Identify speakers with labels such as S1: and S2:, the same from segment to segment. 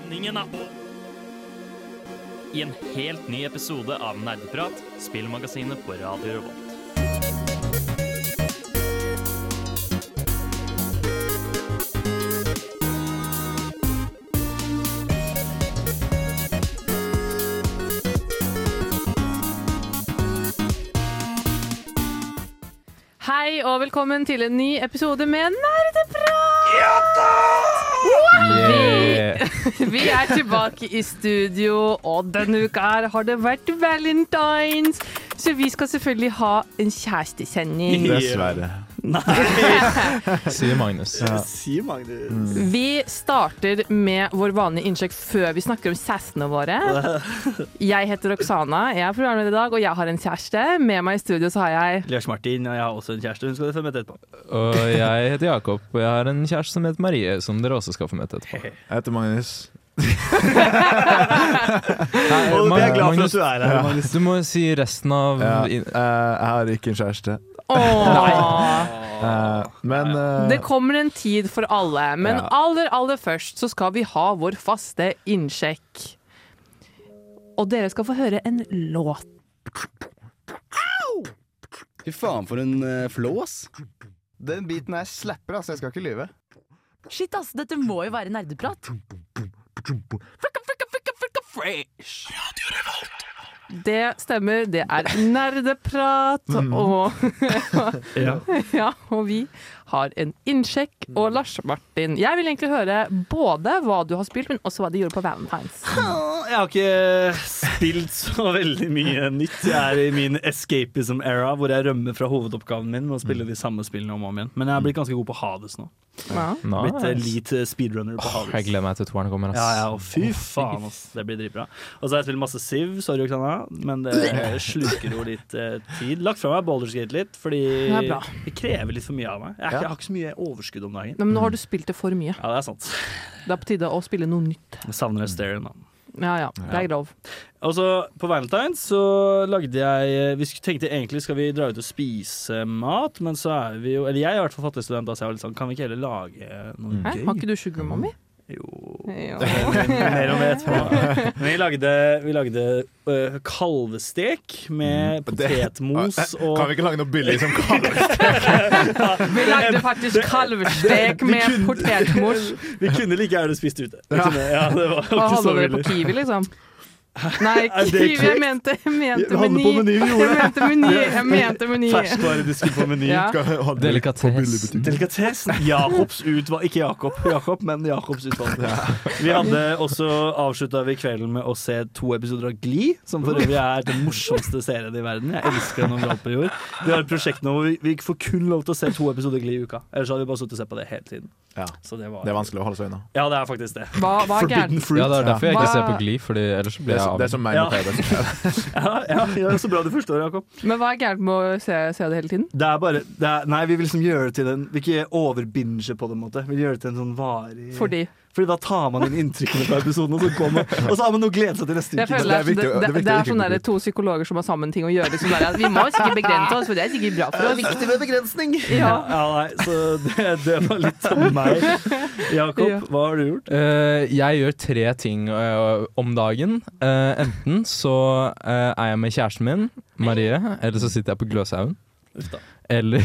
S1: Spenningen er på! I en helt ny episode av Nerdeprat, spillmagasinet på Radio Revolt.
S2: Hei og velkommen til en ny episode med Nerdeprat! Vi er tilbake i studio, og denne uka her har det vært valentines. Så vi skal selvfølgelig ha en kjærestesending.
S3: Dessverre, sier Magnus. Mm.
S4: Si Magnus.
S2: Vi starter med vår vanlige innsjekk før vi snakker om kjærestene våre. Jeg heter Oksana, jeg er programleder i dag, og jeg har en kjæreste. Med meg i studio så har jeg
S4: Lars Martin, og jeg har også en kjæreste. Hun skal du få møte etterpå.
S5: Og jeg heter Jakob, og jeg har en kjæreste som heter Marie, som dere også skal få møte etterpå.
S3: Jeg heter Magnus.
S5: Hei,
S4: Og vi er glad for at
S5: Magnus,
S4: du er her. Magnus.
S5: du må si resten av
S3: Ja, eh,
S5: in-
S3: jeg har ikke en kjæreste.
S2: Åh.
S3: Eh, men eh,
S2: Det kommer en tid for alle, men
S3: Ja.
S2: aller, aller først så skal vi ha vår faste innsjekk. Og dere skal få høre en låt.
S6: Fy faen, for en eh, flow, ass.
S7: Den biten her slapper, altså. Jeg skal ikke lyve.
S8: Shit, ass, dette må jo være nerdeprat.
S2: Det stemmer, det er nerdeprat, og,
S4: Ja.
S2: ja, og vi har en innsjekk. Og Lars Martin, jeg vil egentlig høre både hva du har spilt, men også hva du gjorde på Valentine's.
S4: Jeg har ikke spilt så veldig mye nytt. Jeg er i min escapism-era, hvor jeg rømmer fra hovedoppgaven min med å spille de samme spillene om og om igjen. Men jeg har blitt ganske god på Hades nå.
S2: Ja.
S5: Nice.
S4: Blitt elite speedrunner på
S5: Åh, Jeg
S4: Hades.
S5: gleder meg til toeren kommer, ass.
S4: Ja, ja, og fy faen, ass. Det blir dritbra. Og så har jeg spilt masse Siv, sorry, Oksana, men det sluker jo litt eh, tid. Lagt fra meg Baldur's Gate litt, fordi
S2: Det er bra.
S4: det krever litt for mye av meg. Jeg, er ikke- jeg har ikke så mye overskudd om dagen.
S2: Nei, men nå har du spilt det for mye.
S4: Ja, det er sant.
S2: Det er på tide å spille noe nytt.
S4: Jeg savner Austerien, da.
S2: Ja ja, det er grov.
S4: Og så på Valentine's så lagde jeg eh, Vi sk- tenkte egentlig skal vi dra ut og spise mat, men så er vi jo Eller jeg er i hvert fall fattig student, da, så jeg var litt sånn Kan vi ikke heller lage noe
S2: Hæ? Har
S4: gøy?
S2: ikke du sugar mommy?
S4: Jo
S2: Ja.
S4: Mer om det etterpå. Men vi lagde, vi lagde øh, kalvestek med potetmos og
S3: Mm. Kan vi ikke lage noe billig som kalver?
S2: Vi lagde faktisk kalvestek med potetmos.
S4: Vi kunne like gjerne spist ute. Vi kunne, ja, det var
S2: Hva
S4: ikke så
S2: holder dere
S4: veldig
S2: på Kiwi, liksom? Nei,
S4: Er det
S2: Kiwi, jeg
S4: korrekt?
S2: mente, jeg mente
S4: Vi hadde
S2: meny.
S4: på Meny, vi gjorde
S2: Jeg mente meny. Jeg mente meny.
S4: Ferskvaredisken på menyen.
S2: Ja.
S5: Delikates.
S4: Delikatessen. Jakobs utvalg Ikke Jakob, Jakob men Jakobs utvalg. Vi hadde også avslutta vi kvelden med å se to episoder av Glee, som for øvrig er den morsomste serien i verden. Jeg elsker den overalt på jord. Vi har et prosjekt nå hvor vi- vi får kun lov til å se to episoder Glee i uka. Ellers hadde vi bare sittet og sett på det hele tiden.
S3: Ja.
S4: Så det var
S3: Det er vanskelig å holde seg unna.
S4: Ja, det er faktisk det.
S2: Hva, hva er
S4: Forbidden
S2: gærent?
S4: fruit.
S5: Ja, det er derfor jeg ikke
S2: Hva-
S5: ser på Glee, Fordi ellers
S3: Det
S5: blir
S3: er,
S5: jeg
S3: så- det
S5: av.
S3: er som meg
S4: Ja.
S3: med Paradise.
S4: Ja, ja, ja, så bra du forstår, Jakob.
S2: Men hva er gærent med å se, se det hele tiden?
S4: Det er bare det er, Nei, vi vil liksom gjøre det til en Vi ikke overbinger på det, på en måte. Vi vil gjøre det til en sånn varig
S2: Fordi
S4: Fordi da tar man inn inntrykkene fra episoden, og så, går man, og så har man noe å glede seg til neste
S2: jeg
S4: uke.
S2: føler
S3: det er
S2: at det,
S3: viktig å- det
S2: det,
S3: er viktig
S2: det
S3: å
S2: er
S3: ikke
S2: sånn der,
S3: gå
S2: to psykologer som har sammen ting å gjøre. Liksom der, at vi må sikkert begrense oss, for det er sikkert bra for oss.
S4: viktig med begrensning. Ja,
S2: Ja.
S4: nei, så det, det var litt om meg.
S2: Ja.
S4: Jakob, hva har du gjort?
S5: Eh, jeg gjør tre ting eh, om dagen. Eh, enten så eh, er jeg med kjæresten min, Marie, eller så sitter jeg på Gløshaugen.
S4: Uff da.
S5: Eller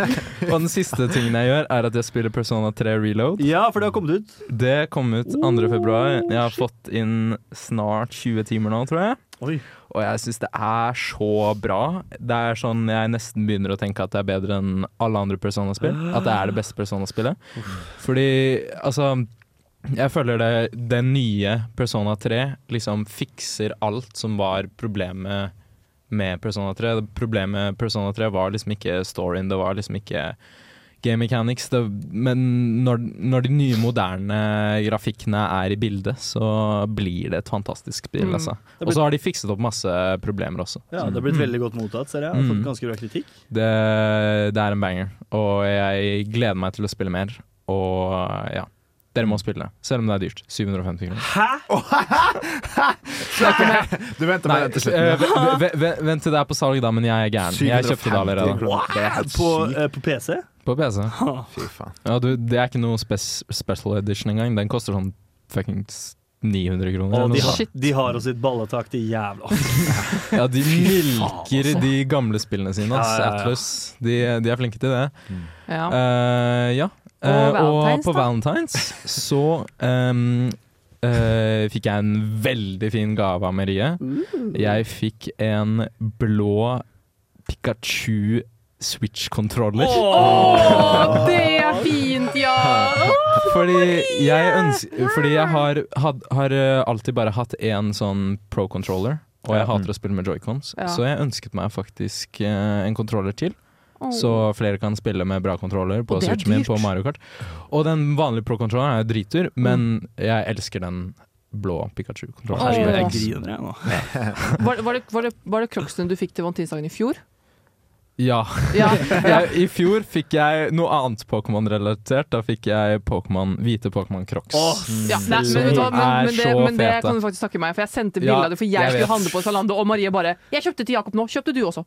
S5: Og den siste tingen jeg gjør, er at jeg spiller Persona 3 Reload.
S4: Ja, for det har kommet ut. Oh,
S5: Det kom ut 2. februar. Jeg har fått inn snart 20 timer nå, tror jeg.
S4: Oi.
S5: Og jeg syns det er så bra. Det er sånn jeg nesten begynner å tenke at det er bedre enn alle andre Persona-spill. At det er det beste Persona-spillet. Fordi, altså Jeg føler det det nye Persona 3 liksom fikser alt som var problemet med Persona 3. Det Problemet med Persona 3 var liksom ikke storyen, det var liksom ikke game mechanics. Det, men når, når de nye, moderne grafikkene er i bildet, så blir det et fantastisk spill,
S2: Mm.
S5: altså. Og så har de fikset opp masse problemer også.
S4: Ja, Det har blitt veldig godt mottatt, ser jeg. Har fått ganske bra kritikk.
S5: Det, Mm. det er en banger, og jeg gleder meg til å spille mer. Og ja, dere må spille det, selv om det er dyrt. 750 kroner.
S4: Hæ?
S3: Du venter
S5: Nei,
S3: med det til
S5: eh,
S3: slutten.
S5: ve- ve- ve- vent til det er på salg, da, men jeg er gæren. Jeg kjøpte det allerede.
S3: Det er helt
S4: På,
S3: sykt.
S4: eh, på PC?
S5: På PC.
S3: Fy faen.
S5: Ja, du, det er ikke noe spes special edition engang. Den koster sånn fuckings 900
S4: Og
S5: kroner. eller
S4: de
S5: noe sånt.
S4: har, de har jo sitt balletak til jævla
S5: Ja, de milker
S4: altså.
S5: de gamle spillene sine. ass.
S4: Ja, ja, Mm. ja.
S5: Atlus. De, de er flinke til det.
S2: Ja.
S5: Eh, ja.
S2: Og
S5: Eh, og
S8: Valentine's,
S5: på
S8: da?
S5: Valentine's så ehm, eh, fikk jeg en veldig fin gave av Marie. Jeg fikk en blå Pikachu Switch-kontroller.
S2: Å, det er fint, ja!
S5: Fordi jeg ønsker Fordi jeg har, had, har eh, alltid bare hatt én sånn pro-controller. Og jeg
S3: Ja.
S5: hater å spille med joycons,
S2: Ja.
S5: så jeg ønsket meg faktisk eh, en controller til.
S2: Å.
S5: Så flere kan spille med bra kontroller på
S2: Oh. Og det er
S5: Switchen min
S2: dyrt. Mm.
S5: på Mario Kart. Og den vanlige Pro-kontrolleren er jo dritdyr, men jeg elsker den blå Pikachu-kontrolleren.
S2: Herregud,
S5: som
S2: jeg
S5: er X.
S4: griner, jeg nå.
S2: Var, var det, var det, var det Crocsen du fikk til valentinsdagen i fjor?
S5: Ja.
S2: Ja.
S5: Jeg, I fjor fikk jeg noe annet Pokémon-relatert. Da fikk jeg Pokémon, hvite Pokémon Crocs. Mm.
S2: Ja, nei, men, vet du, hva, men,
S5: Er
S2: men, det,
S5: så
S2: men det
S5: fete.
S2: kan du faktisk takke meg for. Jeg sendte bilde
S5: Ja,
S2: av det, for jeg,
S5: jeg
S2: skulle
S5: vet.
S2: handle på Zalando, og Marie bare 'Jeg kjøpte til Jakob nå. Kjøpte du også?'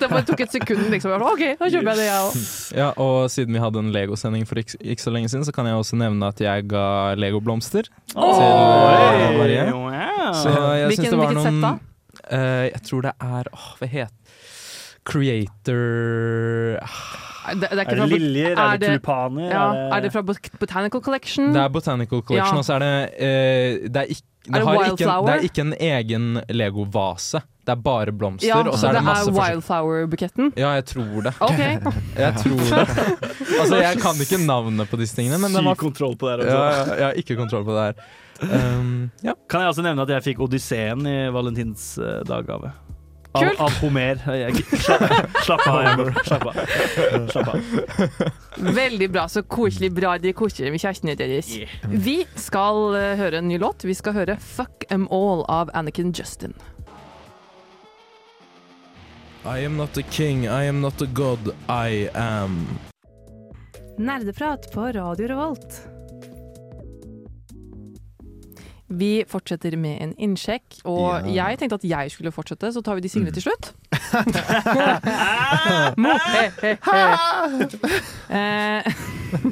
S2: det bare tok et sekund, liksom. Jeg var, sånn, OK, da kjøper jeg det, jeg òg.
S5: Ja, og siden vi hadde en Lego-sending for ikke, ikke så lenge siden, så kan jeg også nevne at jeg ga Lego-blomster.
S4: Oi,
S5: til eh, Marie.
S4: wow.
S5: Så jeg
S2: Hvilken-
S5: syns det var
S2: hvilket sett
S5: noen
S2: da?
S5: eh, Jeg tror det er Åh, hva het Creator
S2: Nei, Det,
S4: Er
S2: det er, ikke
S4: det
S2: fra, bot-
S4: liljer?
S2: er
S4: Er det
S2: det-
S4: tulipaner?
S2: ja, er det fra Bot- Botanical Collection?
S5: Det er Botanical
S2: Mm.
S5: Collection,
S2: Ja.
S5: og så er det eh, Det er ikke det,
S2: Er det
S5: har ikke, en-
S2: Wildflower?
S5: det er ikke en egen Lego-vase. Det er bare blomster,
S2: ja,
S5: og
S2: så
S5: så er det,
S2: det
S5: masse
S2: er
S5: forskjell-
S2: Wildflower-buketten?
S5: Ja, jeg tror det.
S2: OK.
S5: Jeg tror det. altså, jeg kan ikke navnet på disse tingene, men det var
S4: Syk kontroll på det her altså.
S5: ja,
S4: også.
S5: ja, Jeg har ikke kontroll på det her. Um, ja.
S4: Kan jeg også nevne at jeg fikk Odysseen i Valentins eh, daggave. Av,
S2: Kult.
S4: av Homer. Jeg, slapp, slapp av, Emmer. Slapp av. Slapp av.
S2: Veldig bra. Så koselig bra de koser med kjærestene deres. Vi skal eh, høre en ny låt. Vi skal høre 'Fuck Em All' av Anakin Justin.
S5: I am not a king, I am not a god, I am
S8: Nerdeprat på Radio Revolt.
S2: Vi fortsetter med en innsjekk, og jeg tenkte at jeg skulle fortsette, så tar vi de Sigrid til slutt. Mo, he, he, he. Eh,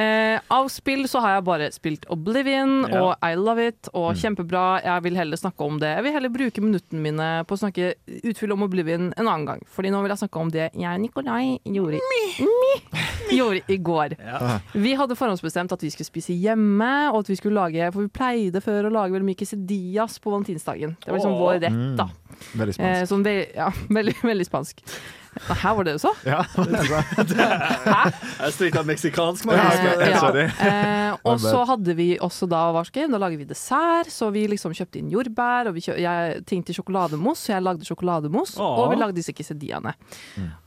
S2: eh, av spill så har jeg bare spilt Oblivion
S4: Ja.
S2: og I Love It og
S3: Mm.
S2: kjempebra. Jeg vil heller snakke om det. Jeg vil heller bruke minuttene mine på å snakke utfylle om Oblivion en annen gang. Fordi nå vil jeg snakke om det jeg og Nikolai gjorde, Mi. gjorde i går. Vi hadde forhåndsbestemt at vi skulle spise hjemme, og at vi skulle lage For vi pleide før å lage veldig mye quesadillas på valentinsdagen. Det var liksom
S4: Åh.
S2: vår rett, da.
S3: Mm, Veldig
S2: Eh,
S3: spansk.
S2: sånn ve ja, veldig, veldig spansk. Her var det også.
S3: Ja,
S4: Jeg strikka meksikansk,
S3: Ja, ok,
S2: Eh, ja.
S3: sorry.
S2: Eh, og
S3: My
S2: så hadde vi også da varsken, da lager vi dessert, så vi liksom kjøpte inn jordbær, og vi kjø jeg tenkte sjokolademos, så jeg lagde sjokolademos,
S4: Åh.
S2: og vi lagde disse quesadillaene.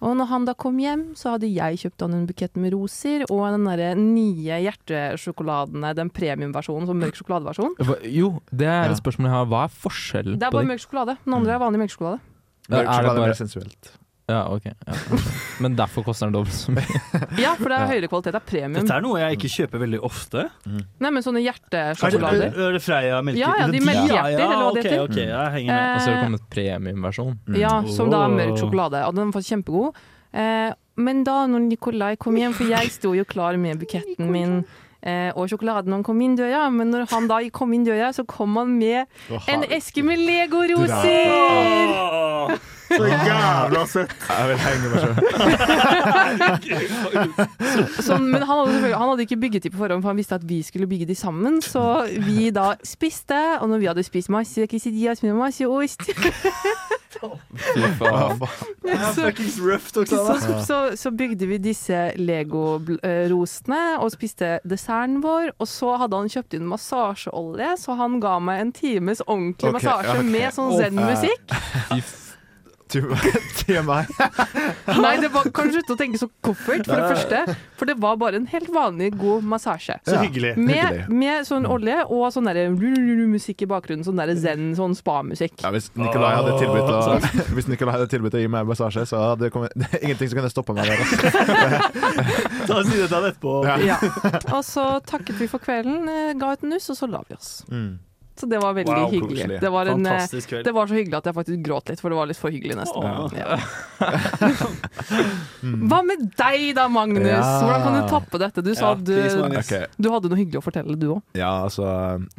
S2: Og når han da kom hjem, så hadde jeg kjøpt han en bukett med roser, og den derre nye hjertesjokoladene, den premiumversjonen, sånn mørk sjokoladeversjon.
S5: Hva- Jo, det er
S3: Ja.
S5: et spørsmål jeg har. Hva er forskjellen
S2: Det er
S5: på
S2: bare
S5: de?
S2: mørk sjokolade. Den andre er vanlig melkesjokolade.
S5: Er
S3: Mørk sjokolade
S5: det
S3: er
S5: bare
S3: mer sensuelt.
S5: Ja, ok. Ja. Men derfor koster den dobbelt så mye.
S2: Ja, for det er høyere kvalitet, det er premium.
S4: Dette er noe jeg ikke kjøper veldig ofte.
S5: Mm.
S2: Nei, men
S4: Er
S2: sånne
S4: det,
S2: hjertesjokolader.
S4: er det Freia melke?
S2: Ja, ja, de melkehjerter, eller hva det
S4: ok,
S2: heter.
S4: ok, jeg henger med.
S5: Og så har det
S2: Eh,
S5: kommet premiumversjon.
S2: Ja, som da er mørk
S4: Åh.
S2: sjokolade. Og den var kjempegod. Eh, men da når Nikolai kom hjem, for jeg sto jo klar med buketten min eh, og sjokoladen når han kom inn døra, men når han da kom inn døra, så kom han med en eske med Lego-roser!
S4: Åh, Så jævla søtt!
S3: Jeg vil henge meg sjøl.
S2: Sånn, men han hadde, selvfølgelig- han hadde ikke bygget de på forhånd, for han visste at vi skulle bygge de sammen. Så vi da spiste, og når vi hadde spist masse quesadillas med masse ost så,
S4: Fuckings røft,
S2: så,
S4: Oksana.
S2: så, så bygde vi disse Lego-rosene og spiste desserten vår. Og så hadde han kjøpt inn massasjeolje, så han ga meg en times ordentlig
S3: Ok,
S2: massasje
S3: ok.
S2: med sånn zen-musikk.
S3: Til meg.
S2: Nei, det var, kan du slutte å tenke så koffert, for det første. For det var bare en helt vanlig god massasje.
S4: Så hyggelig.
S2: Med,
S3: hyggelig.
S2: med sånn olje og sånn derre musikk i bakgrunnen. Sånn derre zen, sånn spa-musikk.
S3: Ja, hvis Nikolai hadde tilbudt å, hvis Nikolai hadde tilbudt å gi meg massasje, så hadde det kommet, det er ingenting som kunne stoppa meg. Der, altså.
S4: Da sier jeg det etterpå.
S3: Ja. Mm.
S2: Ja. Og så takket vi for kvelden, eh, ga et nuss, og så la vi oss. Så det var veldig
S3: Wow,
S2: hyggelig.
S3: koselig.
S2: Det var, en, eh,
S4: Fantastisk kveld.
S2: det var så hyggelig at jeg faktisk gråt litt, for det var litt for hyggelig nesten.
S4: Åh. Mm.
S2: Ja. Hva med deg da, Magnus?
S3: Ja.
S2: Hvordan kan du tappe dette? Du
S4: Ja,
S2: sa at
S4: please,
S2: du,
S4: Magnus.
S3: Ok.
S2: du hadde noe hyggelig å fortelle, du òg.
S3: Ja, altså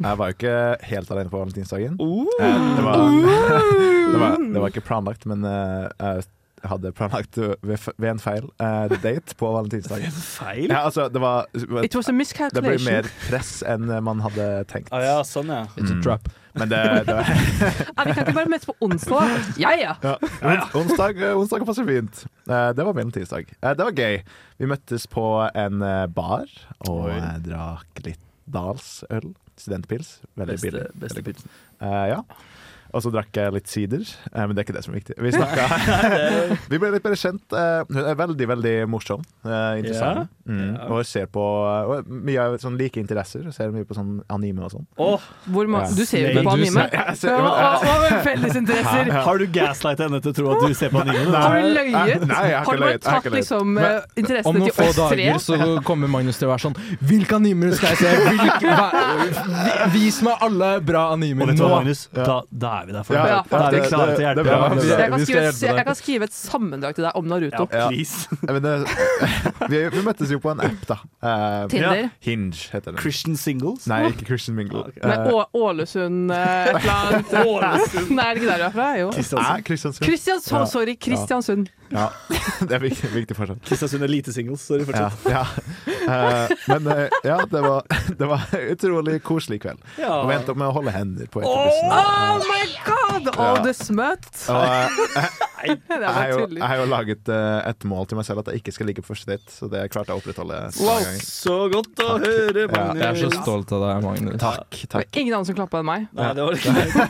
S3: Jeg var jo ikke helt alene på valentinsdagen.
S4: Oh.
S3: Eh, Det var, det var, det var ikke planlagt, men eh, jeg hadde planlagt ved, f- ved en feil eh, date på valentinsdagen.
S4: Feil?
S3: Ja, altså, det var
S2: It was a
S3: Det ble
S2: miscalculation.
S3: mer press enn man hadde tenkt. Mm.
S4: Ah, ja, sånn, ja.
S5: It's a trap.
S3: Men det, det var
S2: Nei, vi kan ikke bare møtes på onsdag. Ja ja.
S3: ja. ons- Onsdag, eh, onsdag passer fint. Eh, Det var valentinsdag. Eh, Det var gøy. Vi møttes på en eh, bar og
S4: Oi.
S3: eh, drakk litt Dalsøl. Studentpils. Veldig billig.
S4: Beste, beste pizza.
S3: Eh, ja. Og så drakk jeg litt sider, eh, men det er ikke det som er viktig. Vi snakka Vi ble litt bedre kjent. eh, hun er veldig, veldig morsom. eh, interessant. Mm.
S4: Ja.
S3: Og ser på og mye av sånn like interesser. Ser mye på sånn anime og sånn.
S4: Åh,
S2: Hvor ma
S3: Ja.
S2: Du ser jo
S4: Men
S2: ikke på
S5: du
S2: anime.
S3: ser- jeg ser-
S2: Hva hva- hva med felles interesser?
S4: Har du gaslighta henne til å tro at du ser på anime? da?
S2: Har du løyet?
S3: Nei, jeg har
S2: Har
S3: ikke
S2: du bare
S3: løyet. Jeg har
S2: tatt
S3: ikke løyet.
S2: liksom eh,
S5: Om
S2: interessene
S5: noen
S2: til
S5: få
S2: oss tre?
S5: dager så kommer Magnus til å være sånn Hvilke animer skal jeg se? Hvilke, hva, vi- vis meg alle bra
S4: Og
S5: animer
S4: vet du
S5: nå!
S4: hva, Magnus? Da, da er vi der for deg.
S2: Ja,
S4: da er vi
S3: det-
S4: klare
S3: det-
S4: til å hjelpe
S3: det er bra.
S4: deg.
S5: Ja,
S2: Jeg kan,
S5: vi skal
S2: skrive,
S5: hjelpe deg.
S2: jeg kan skrive et sammendrag til deg om Naruto.
S4: Ja, please.
S3: Ja, Men det, vi, vi møttes jo på en app, da. Eh,
S2: Tinder.
S3: Hinge heter den.
S4: Christian singles? Ah,
S3: Nei, ikke Christian Mingle. Eh,
S4: ok.
S2: Nei, Å- Ålesund eh, et eller annet. Nei, er det ikke der du er fra? Jo.
S4: Kristiansund.
S3: Nei, Kristiansund.
S2: Kristiansund, sorry, Kristiansund.
S3: Ja, det er viktig, viktig fortsatt.
S4: Kristiansund Elite Singles. Sorry,
S3: Ja,
S4: fortsett.
S3: ja. Eh, men eh, ja, det var, det var en utrolig koselig kveld. Og vi endte opp med å holde hender på etterbussen.
S2: Oh my god! Å,
S3: Ja.
S2: det smøt!
S3: Og eh,
S2: Det
S3: jeg
S2: var
S3: har jo- jeg
S2: tydelig.
S3: har jo laget eh, et mål til meg selv at jeg ikke skal ligge på første date, så det klarte jeg å opprettholde.
S2: Wow.
S3: mange ganger.
S4: Så godt å høre, Magnus.
S5: Jeg er så stolt av deg, Magnus.
S3: Takk.
S2: Det var ingen andre som klappa enn meg.
S4: Nei, det var ikke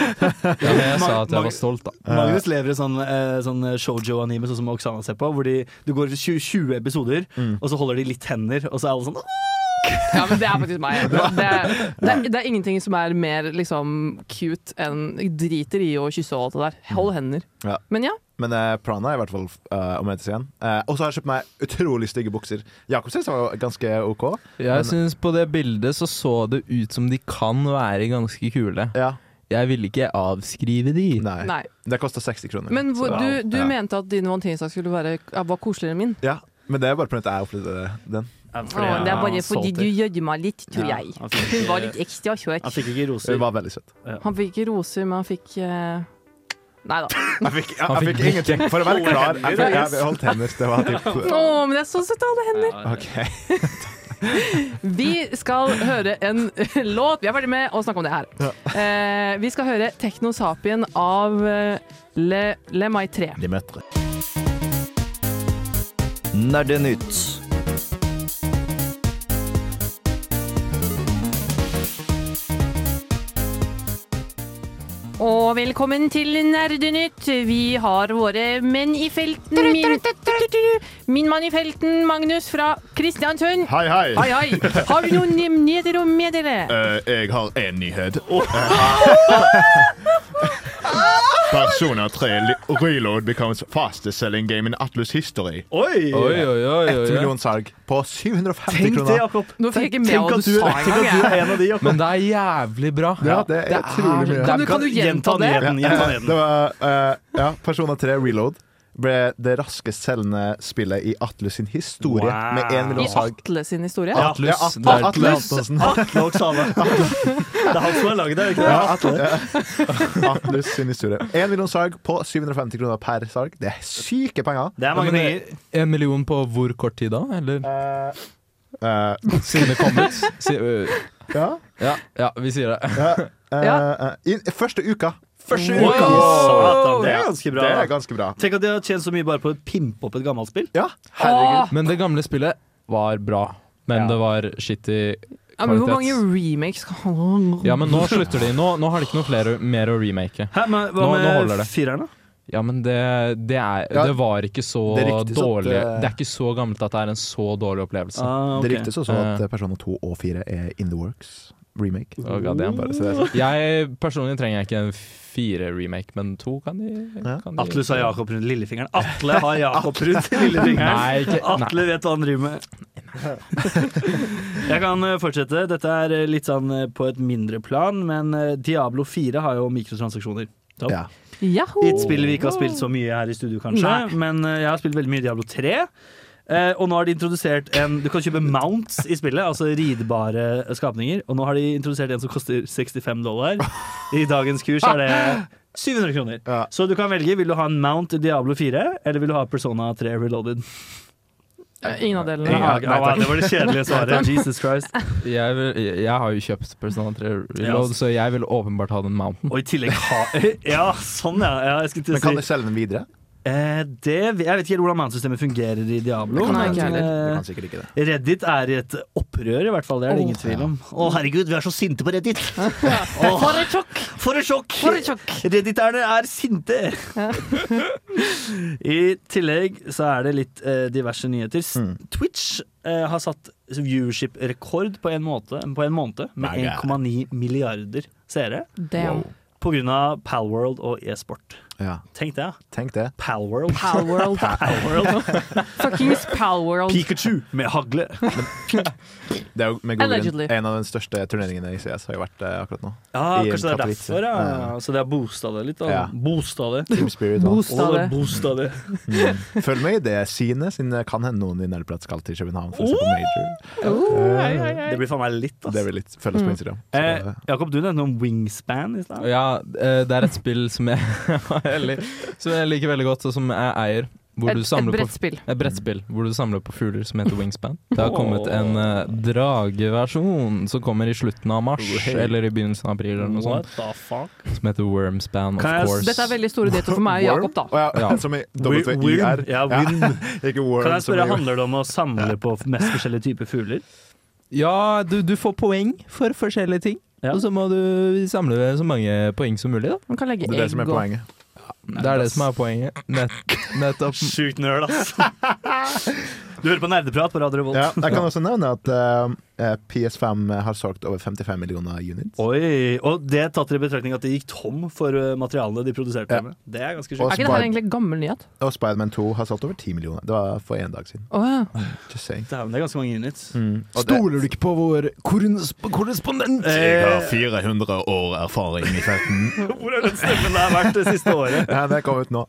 S5: Ja, men jeg sa at jeg
S4: Mag-
S5: var stolt, da.
S4: Magnus lever i sånn, eh, sånn shoujo-anime, sånn som Oksana ser på, hvor de, du går 20, 20 episoder, og så holder de litt hender, og så er alle sånn «Åh!»
S2: Ja, men det er faktisk meg. altså. Det, det, er- det er ingenting som er mer liksom cute enn Driter i å kysse og alt det der. Hold hender.
S3: Ja.
S2: Men ja,
S3: Men eh, Prana er i hvert fall eh, å møtes igjen. Eh, og så har jeg kjøpt meg utrolig stygge bukser. Jakob synes jeg var ganske OK.
S5: Jeg syns på det bildet så så det ut som de kan være ganske kule.
S3: Ja,
S5: Jeg ville ikke avskrive de.
S3: nei.
S2: nei.
S3: Det kosta 60 kroner.
S2: Men hvor,
S3: Mm. så-
S2: du, du
S3: ja.
S2: mente at din valentinsdag skulle være var koseligere enn min?
S3: ja. Men det er bare på grunn av at jeg opplevde den.
S2: Å, det er bare fordi du gjødde meg litt, tror
S4: Ja,
S2: jeg.
S4: han fikk
S2: Hun var
S4: ikke-
S2: litt ekstra søt.
S4: Han fikk ikke
S3: Det
S4: roser.
S3: var veldig søtt.
S2: Han fikk ikke roser, men han fikk eh, Nei da.
S3: Jeg fikk, jeg,
S5: Han
S3: jeg
S5: fikk
S3: fikk ingenting. For å være klar, jeg, fikk, jeg holdt hender. Det var typ
S2: Å, men det er så søtt av alle hender.
S3: OK.
S2: Vi skal høre en låt. Vi er ferdig med å snakke om det her. Eh, vi skal høre Tekno Sapien av eh, Le, Le Mai 3.
S7: Nerdenytt.
S2: Og velkommen til Nerdenytt. Vi har våre menn i felten. Min, min mann i felten, Magnus fra Kristiansund.
S3: Hei, hei.
S2: Hei, hei. Har du noen nyheter å meddele?
S3: Eh, jeg har én nyhet. Persona 3 li- Reload becomes fastest selling game in Atlus history.
S4: Oi!
S5: Oi, oi, oi,
S3: Ett
S5: oi, oi.
S3: million salg på 750
S4: Tenk det,
S3: kroner.
S4: Jakob.
S2: Nå fikk jeg ikke med
S4: Tenk
S2: hva
S4: at
S2: du
S4: du,
S2: sa
S4: tenk at du
S2: engang.
S4: er en av de, Jakob.
S5: Men det er jævlig bra.
S3: Ja, det er utrolig mye.
S2: Kan du, kan du gjenta det?
S4: nyheten, Gjenta
S3: Eh, Det
S4: nyheten.
S3: var eh, Ja, Persona 3 Reload ble det raskest selgende spillet i Atlus sin historie
S4: Wow.
S3: med én
S2: I
S3: million salg.
S2: Atle sin historie?
S3: Ja,
S5: Atlus.
S3: ja, At-
S5: Det er-
S3: Atle
S4: Atlus.
S3: Antonsen.
S4: Atle og Oksana. Det er han som har laget det, er det ikke det?
S3: Ja, Atle. Atlus sin historie. Én million salg på 750 kroner per salg. Det er syke penger.
S4: Det er mange
S5: Ja, men
S4: penger.
S5: det- En million på hvor kort tid da? Eller
S3: Eh,
S5: siden det kom ut? Si, øh,
S3: ja.
S5: ja, ja, vi sier det.
S3: Eh,
S2: Ja.
S3: eh, i- Første uka.
S5: Første
S4: Oi,
S5: uka!
S4: satan, Det er ganske bra.
S3: Det er ganske bra.
S4: Tenk at de har tjent så mye bare på å pimpe opp et gammelt spill.
S3: Ja,
S2: Åh,
S5: Men det gamle spillet var bra. Men
S4: Ja.
S5: det var shitty
S2: ja, men hvor
S5: kvalitets-
S2: mange remakes kan han
S5: Ja, men nå slutter de. Nå, nå har de ikke noe flere, mer å remake.
S4: Hæ, men Hva
S5: Nå- nå holder
S4: med
S5: det.
S4: fireren, da?
S5: Ja, men det, det, er,
S3: Ja.
S5: det var ikke så
S3: Det ryktes at,
S5: dårlig
S3: eh,
S5: Det er ikke så gammelt at det er en så dårlig opplevelse. Eh,
S4: Ah, ok.
S3: Det ryktes også at Persona 2 og 4 er in the works. remake.
S5: Å, god damn.
S3: Bare så det er sagt.
S5: Jeg personlig trenger jeg ikke en fire remake, men to kan de.
S3: Ja.
S5: Kan de
S4: Atle sa Jakob rundt lillefingeren. Atle har Jakob rundt lillefingeren.
S5: Nei, ikke, nei.
S4: Atle vet hva han driver med. Jeg kan eh, fortsette. Dette er eh, litt sånn eh, på et mindre plan, men eh, Diablo 4 har jo mikrotransaksjoner.
S3: Ja.
S2: Yahoo!
S4: Et spill vi ikke har spilt så mye her i studio, kanskje, men eh, jeg har spilt veldig mye Diablo 3. Eh, og nå har de introdusert en Du kan kjøpe mounts i spillet, altså ridbare skapninger. Og nå har de introdusert en som koster 65 dollar. I dagens kurs er det 700 kroner.
S3: Ja.
S4: Så du kan velge. Vil du ha en mount i Diablo 4, eller vil du ha Persona 3 Reloaded?
S2: Eh, Ingen av delene.
S4: Ja,
S3: nei, takk.
S4: det var det kjedelige svaret. Jesus Christ.
S5: Jeg, vil, jeg har jo kjøpt Persona 3
S4: Ja.
S5: Reload, så jeg vil åpenbart ha den mounten.
S4: Og i tillegg ha Ja, sånn, ja. ja jeg skulle til
S3: Men kan
S4: å
S3: jeg
S4: si
S3: selge den videre?
S4: eh, det, Jeg vet ikke helt hvordan mount-systemet fungerer i Diablo.
S2: Det kan
S4: men,
S2: jeg ikke
S3: Du
S4: eh,
S3: kan sikkert ikke det.
S4: Reddit er i et opprør, i hvert fall. Det er det ingen tvil om. Å, herregud, vi er så sinte på Reddit!
S2: For et sjokk!
S4: For et sjokk!
S2: For et sjokk!
S4: Redditerne er sinte! I tillegg så er det litt eh, diverse nyheter. S-
S2: Mm.
S4: Twitch eh, har satt viewership-rekord på, en måte- på en måned med 1,9 milliarder seere
S2: Damn.
S4: pga. Palworld og e-sport.
S3: Ja.
S4: Tenk det, ja.
S3: Tenk det.
S4: Palworld.
S2: Palworld.
S4: Palworld.
S2: Fuckings altså. Palworld.
S4: Pikachu med hagle.
S3: det er jo med god grunn
S2: Allegedly.
S3: en av de største turneringene i CS har jo vært eh, akkurat nå.
S4: Ja,
S3: I en
S4: Ah, kanskje det er
S3: Katowice.
S4: derfor, ja.
S3: Ja.
S4: Så det er boosta det litt, da.
S3: Ja.
S4: Boosta det.
S3: Team Spirit og alt.
S2: Boosta det.
S4: Boosta det.
S3: Mm. Følg med i det synet, siden det kan hende noen i Nerdprat skal til København for å se
S2: Oh!
S3: på Major. Eh,
S4: Det blir faen meg litt, ass.
S3: Det vil litt følges
S2: Mm.
S3: på Instagram. Så,
S4: Eh, Jakob, du nevnte noe om wingspan i stad.
S5: Ja, eh, det er et spill som jeg, eller, som jeg liker veldig godt, og som jeg eier. Hvor
S2: Et,
S5: du
S2: et
S5: samler på,
S2: brettspill.
S5: et brettspill hvor du samler på fugler som heter Wingspan. Det har kommet en eh, drageversjon som kommer i slutten av mars
S3: Hey.
S5: eller i begynnelsen av april, eller noe sånt,
S4: Oh, What the fuck?
S5: som heter Wormspan, of
S4: Kan jeg s-
S5: course.
S2: Dette er veldig store dater for meg og Jakob, da.
S3: Å ja,
S5: Ja.
S3: Som i
S4: Wi-
S3: W-I-R.
S4: Wyrm. Ja, wyrm.
S3: Ikke worm.
S4: Kan jeg
S3: som
S4: spørre,
S3: i-
S4: handler det om å samle på mest forskjellige typer fugler?
S5: Ja, du, du får poeng for forskjellige ting.
S4: Ja.
S5: Og så må du samle så mange poeng som mulig, da.
S2: Man kan legge
S3: Det er det
S2: egg
S3: som er
S2: og
S3: poenget.
S5: Det er det som er poenget. Nett, nettopp.
S4: Sjukt nerd, ass. Du hører på nerdeprat på Radio Revolt.
S3: Ja, jeg kan også nevne at eh, PS5 har solgt over 55 millioner units.
S4: Oi, Og det tatt i betraktning at de gikk tom for eh, materialene de produserte
S3: Ja.
S4: med. Det er ganske
S3: Og
S4: sjukt.
S2: Er ikke det her egentlig gammel nyhet?
S3: Og Spiderman 2 har solgt over 10 millioner. Det var for en dag siden.
S2: Å ja.
S3: Just saying.
S4: Dæven, det er ganske mange units.
S3: Mm. Og det-
S5: du ikke på vår korrespondent?
S3: Jeg har
S4: Eh,
S3: 400 år erfaring i felten.
S4: Hvor har den stemmen der vært det siste året?
S3: Ja, det kom ut nå.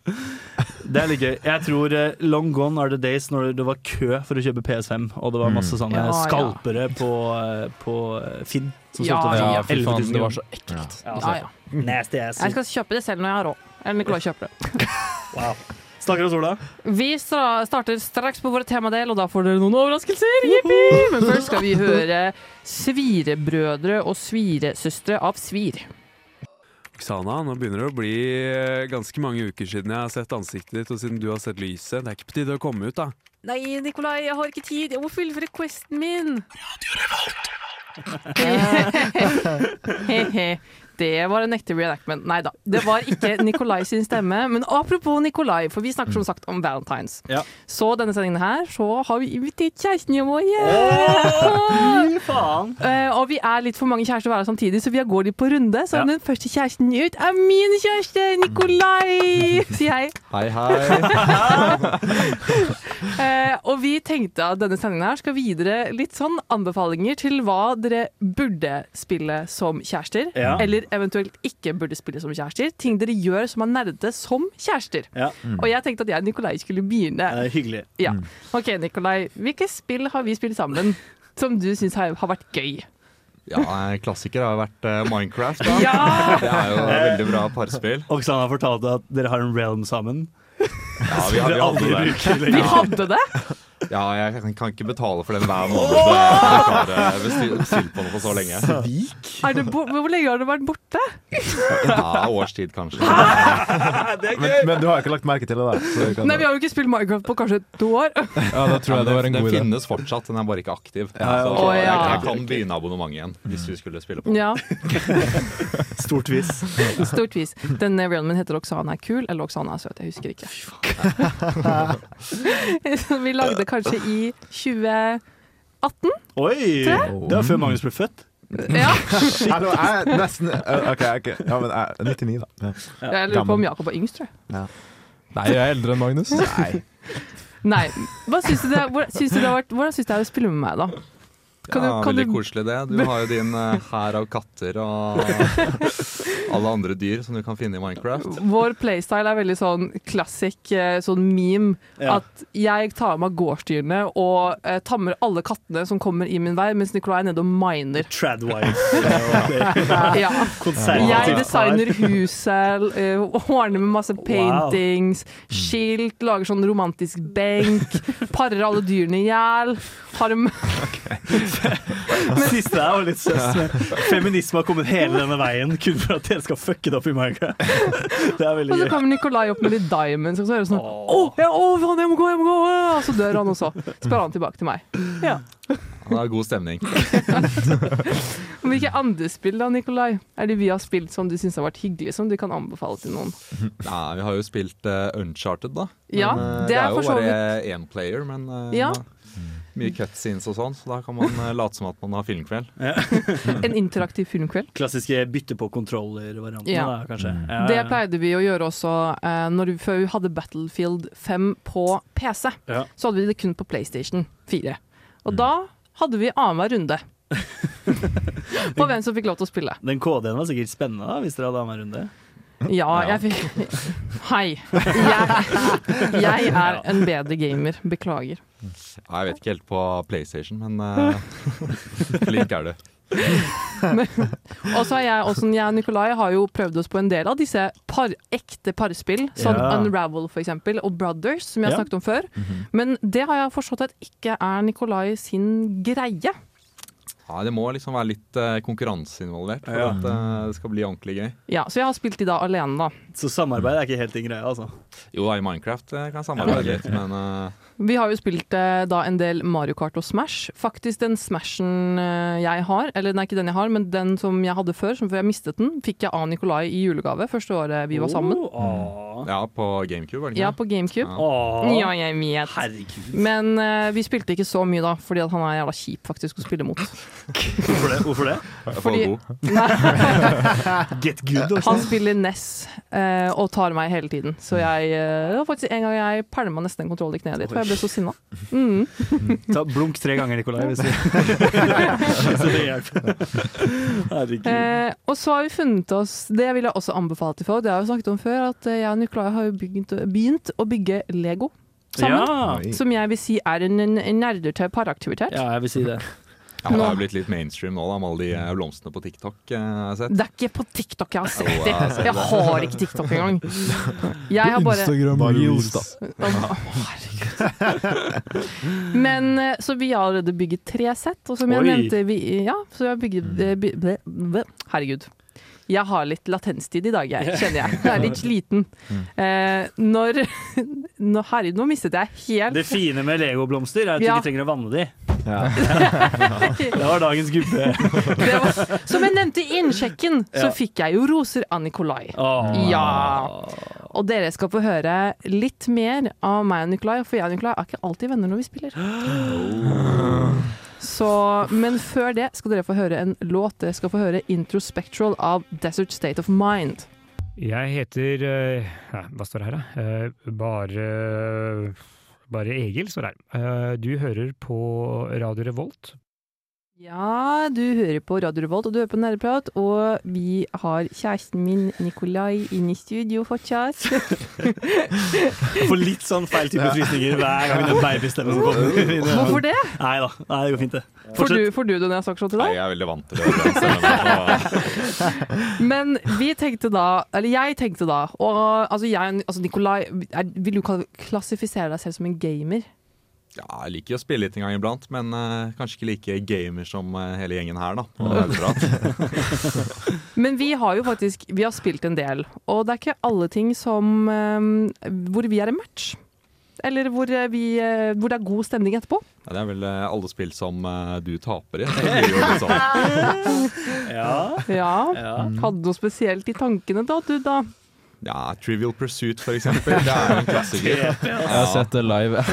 S4: Det er litt gøy. Jeg tror eh, long gone are the days når det var kø for å kjøpe PS5, og det var masse sånne
S2: Ja, ja.
S4: skalpere på, eh, på eh, Finn. Som
S2: Ja,
S4: solgte
S5: Ja,
S2: ja,
S5: fy
S4: 11 000
S5: faen, det
S4: kroner.
S5: var så ekkelt.
S4: Ja,
S2: ja, ja.
S4: altså, Nasty ass.
S2: Jeg skal kjøpe det selv når jeg har råd. Eller Nicolai kjøper det.
S4: Wow. Snakker oss, Ola.
S2: Vi stra- starter straks på vår temadel, og da får dere noen overraskelser. Jippi! Men først skal vi høre svirebrødre og sviresøstre av svir.
S9: Oksana, nå begynner det å bli eh, ganske mange uker siden jeg har sett ansiktet ditt, og siden du har sett lyset. Det er ikke på tide å komme ut, da.
S8: Nei, Nikolai, jeg har ikke tid. Jeg må fullføre questen min.
S2: Hehe. Det var en ekte reenactment. Nei da. Det var ikke Nikolai sin stemme. Men apropos Nikolai, for vi snakker som sagt om Valentines.
S4: Ja.
S2: Så denne sendingen her så har vi invitert kjærestene våre.
S4: Fy faen.
S2: Eh, og vi er litt for mange kjærester å være samtidig, så vi går litt på runde. Så
S4: Ja.
S2: den første kjæresten ut er min kjæreste, Nikolai! Si hei.
S5: Hei, hei.
S2: Eh, og vi tenkte at denne sendingen her skal gi dere litt sånn anbefalinger til hva dere burde spille som kjærester.
S4: Ja.
S2: Eller eventuelt ikke burde spille som kjærester. Ting dere gjør som er nerdete som kjærester.
S4: Ja.
S2: Og jeg tenkte at jeg og Nikolai skulle begynne.
S4: Det er hyggelig.
S2: Ja. OK, Nikolai. Hvilke spill har vi spilt sammen som du syns har, har vært gøy?
S10: Ja, en klassiker har vært eh, Minecraft. Da.
S2: Ja!
S10: Det er jo et veldig bra parspill.
S4: Oksana fortalte at dere har en realm sammen.
S10: Ja, vi, vi hadde
S4: Aldri
S10: det.
S4: bruker
S2: Vi
S4: lenger.
S2: hadde det.
S10: Ja, jeg kan- kan ikke betale for den hver måned. så Jeg klarer bestil- bestilt på den for så lenge.
S2: Er det bo Hvor lenge har du vært borte?
S10: Ja, års tid, kanskje.
S3: Men, men du har ikke lagt merke til det, da. Så du kan,
S2: Nei, vi har jo ikke spilt Minecraft på kanskje to år.
S5: Ja, da tror jeg det var en
S10: den
S5: god idé.
S10: finnes fortsatt, den er bare ikke aktiv.
S3: Ja,
S10: Så
S2: ok.
S10: jeg,
S2: Å, ja.
S10: jeg kan begynne abonnementet igjen, hvis vi skulle spille på.
S2: Ja,
S4: Stort vis.
S2: stort vis. Denne realmen heter Oksana er kul, eller Oksana er søt, jeg husker ikke. Som vi lagde kanskje i 2018.
S4: Oi! Det var før Magnus ble født.
S2: Ja,
S3: Hallo, jeg er nesten eh, OK, ok. Ja, men jeg er 99, da. Ja.
S2: jeg lurer på om Jakob er yngst, tror jeg.
S5: Nei, jeg er eldre enn Magnus.
S3: Nei.
S2: Nei. Hva syns du det, hvor- syns du det har vært, hvordan syns du det er å spille med meg, da? Kan
S10: ja,
S2: du, kan
S10: veldig
S2: du,
S10: koselig det. Du har jo din eh, hær av katter og alle andre dyr som du kan finne i Minecraft.
S2: vår playstyle er veldig sånn klassisk eh, sånn meme.
S4: Ja.
S2: At jeg tar meg av gårdsdyrene og eh, tammer alle kattene som kommer i min vei, mens Nicolai er nede og miner.
S4: Tradwives.
S2: Ja. Jeg designer huset, eh, ordner med masse paintings, skilt, lager sånn romantisk benk, parer alle dyrene i hjel. Har en
S4: Siste er jo litt søs, men feminisme har kommet hele denne veien kun for at dere skal fucke det opp i Minecraft. Det er
S2: Og
S4: veldig
S2: så
S4: gøy.
S2: kommer Nikolai opp med litt diamonds, og så hører jeg sånn Åh, ja, åh, faen, jeg må gå, jeg må gå! åh!» Og så dør han også. Så spør han tilbake til meg.
S10: Det er god stemning.
S2: Men hvilke andre spill da, Nikolai, er det vi har spilt som du syns har vært hyggelig, som du kan anbefale til noen?
S10: Nei, vi har jo spilt eh, Uncharted, da.
S2: Ja,
S10: Men, eh,
S2: det er
S10: jo
S2: for så
S10: bare én player, men eh,
S2: Ja.
S10: mye cutscenes og sånn, så da kan man eh, late som at man har filmkveld. Mm.
S2: En interaktiv filmkveld.
S4: Klassiske bytte på kontroller-varianten,
S2: Ja.
S4: da, kanskje. Ja,
S2: Det
S4: ja.
S2: pleide vi å gjøre også eh, når vi, før vi hadde Battlefield 5 på PC.
S4: Ja.
S2: Så hadde vi det kun på PlayStation 4. Og da hadde vi annenhver runde på hvem som fikk lov til å spille.
S4: Den KD-en var sikkert spennende da, hvis dere hadde annen runde.
S2: Ja, jeg fikk Hei. Jeg, jeg er en bedre gamer. Beklager.
S10: Ja, jeg vet ikke helt på PlayStation, men eh, flink er du.
S2: Og så er jeg også, jeg og Nikolai har jo prøvd oss på en del av disse par, ekte parspill, som
S4: Ja.
S2: Unravel for eksempel, og Brothers, som jeg har
S4: Ja. Mhm.
S2: snakket om før. Men det har jeg forstått at ikke er Nikolai sin greie.
S10: Ja, det må liksom være litt eh, konkurranse involvert for
S4: Ja.
S10: at eh, det skal bli ordentlig gøy.
S2: Ja, Så jeg har spilt de da alene, da.
S4: Så samarbeid er ikke helt din greie, altså.
S10: Jo da, i Minecraft eh, kan jeg samarbeide litt, men eh,
S2: Vi har jo spilt eh, da en del Mario Kart og Smash. Faktisk den Smashen eh, jeg har, eller nei, ikke den jeg har, men den som jeg hadde før, som før jeg mistet den, fikk jeg av Nikolai i julegave første året vi var sammen.
S4: Åh,
S10: Mm. ja, på GameCube, var det
S2: Ja,
S10: ikke?
S2: på GameCube.
S10: Ja.
S4: åh.
S2: Ja, jeg vet.
S4: Herregud.
S2: Men eh, vi spilte ikke så mye da, fordi at han er jævla kjip faktisk å spille mot.
S4: Hvorfor det? Hvorfor det?
S10: Jeg får
S2: fordi-
S10: god.
S4: Get good, altså. også.
S2: Han spiller NES eh, og tar meg hele tiden. Så jeg, eh, det var faktisk en gang jeg pælma nesten en kontroll i kneet ditt, for jeg ble så sinna. Mm.
S4: Ta blunk tre ganger, Nikolai, hvis du hvis det hjelper. Herregud.
S2: Eh, og så har vi funnet oss Det vil jeg også anbefale til folk. Det har jeg jo snakket om før, at eh, jeg og Nicolai har jo begynt, begynt å bygge Lego sammen.
S4: Ja.
S3: Oi.
S2: Som jeg vil si er en, en en nerdete paraktivitet.
S4: ja, jeg vil si det.
S10: Ja, det er jo blitt litt mainstream nå da, med alle de eh, blomstene på TikTok eh, jeg har sett.
S2: Det er ikke på TikTok jeg har sett
S10: Jo, jeg har
S2: det.
S10: sett
S2: Jeg har ikke TikTok engang. Jeg har bare
S5: Instagram
S3: Bare
S5: Reels,
S3: reels.
S5: da.
S2: Å, herregud. Men eh, Så vi har allerede bygget tre sett, og som jeg
S4: Oi. Mm.
S2: nevnte vi, Ja, så jeg har bygget eh, by, ble, ble, Herregud. Jeg har litt latenstid i dag, jeg, kjenner jeg. Jeg er litt sliten.
S4: Mm.
S2: Eh, når nå, Herregud, nå mistet jeg helt
S4: Det fine med legoblomster er at du
S2: Ja.
S4: ikke trenger å vanne de.
S3: Ja.
S4: Det var dagens gubbe.
S2: det var, Som jeg nevnte i innsjekken, så
S4: Ja.
S2: fikk jeg jo roser av Nikolai.
S4: Åh.
S2: Ja. Og dere skal få høre litt mer av meg og Nikolai, for jeg og Nikolai er ikke alltid venner når vi spiller. Så, men før det skal dere få høre en låt. Dere skal få høre 'Introspectral' av Desert State of Mind.
S11: Jeg heter eh, nei, Hva står det her, da? Eh, Bare Bare Egil står det her. Eh, Du hører på Radio Revolt.
S2: Ja, du hører på Radio Revolt, og du hører på Nerdeprat, og vi har kjæresten min Nikolai inne i studio fortsatt.
S4: Får litt sånn feil type frysninger hver gang den babystemmen kommer.
S2: Hvorfor det?
S4: Nei da, Nei, det går fint, det.
S2: Får
S4: Fortsett.
S2: du, får du det når jeg snakker sånn til
S10: Nei,
S2: deg?
S10: jeg er veldig vant til det. den stemmen, og-
S2: Men vi tenkte da, eller jeg tenkte da Og altså, jeg, altså Nikolai er, Vil du kal- klassifisere deg selv som en gamer?
S10: Ja, jeg liker å spille litt en gang iblant, men eh, kanskje ikke like gamer som eh, hele gjengen her, da. Og det er bra.
S2: Men vi har jo faktisk Vi har spilt en del Og det er ikke alle ting som eh, Hvor vi er en match Eller hvor, eh, vi, eh, hvor det er god stemning etterpå
S10: Ja, det er vel eh, alle spill som eh, du taper i. så blir det jo litt sånn.
S4: Ja,
S2: Ja
S4: ja.
S2: Hadde noe spesielt i tankene da, du da
S10: Ja, Trivial Pursuit, for eksempel. Det er jo en klassiker.
S5: Jeg har sett det live.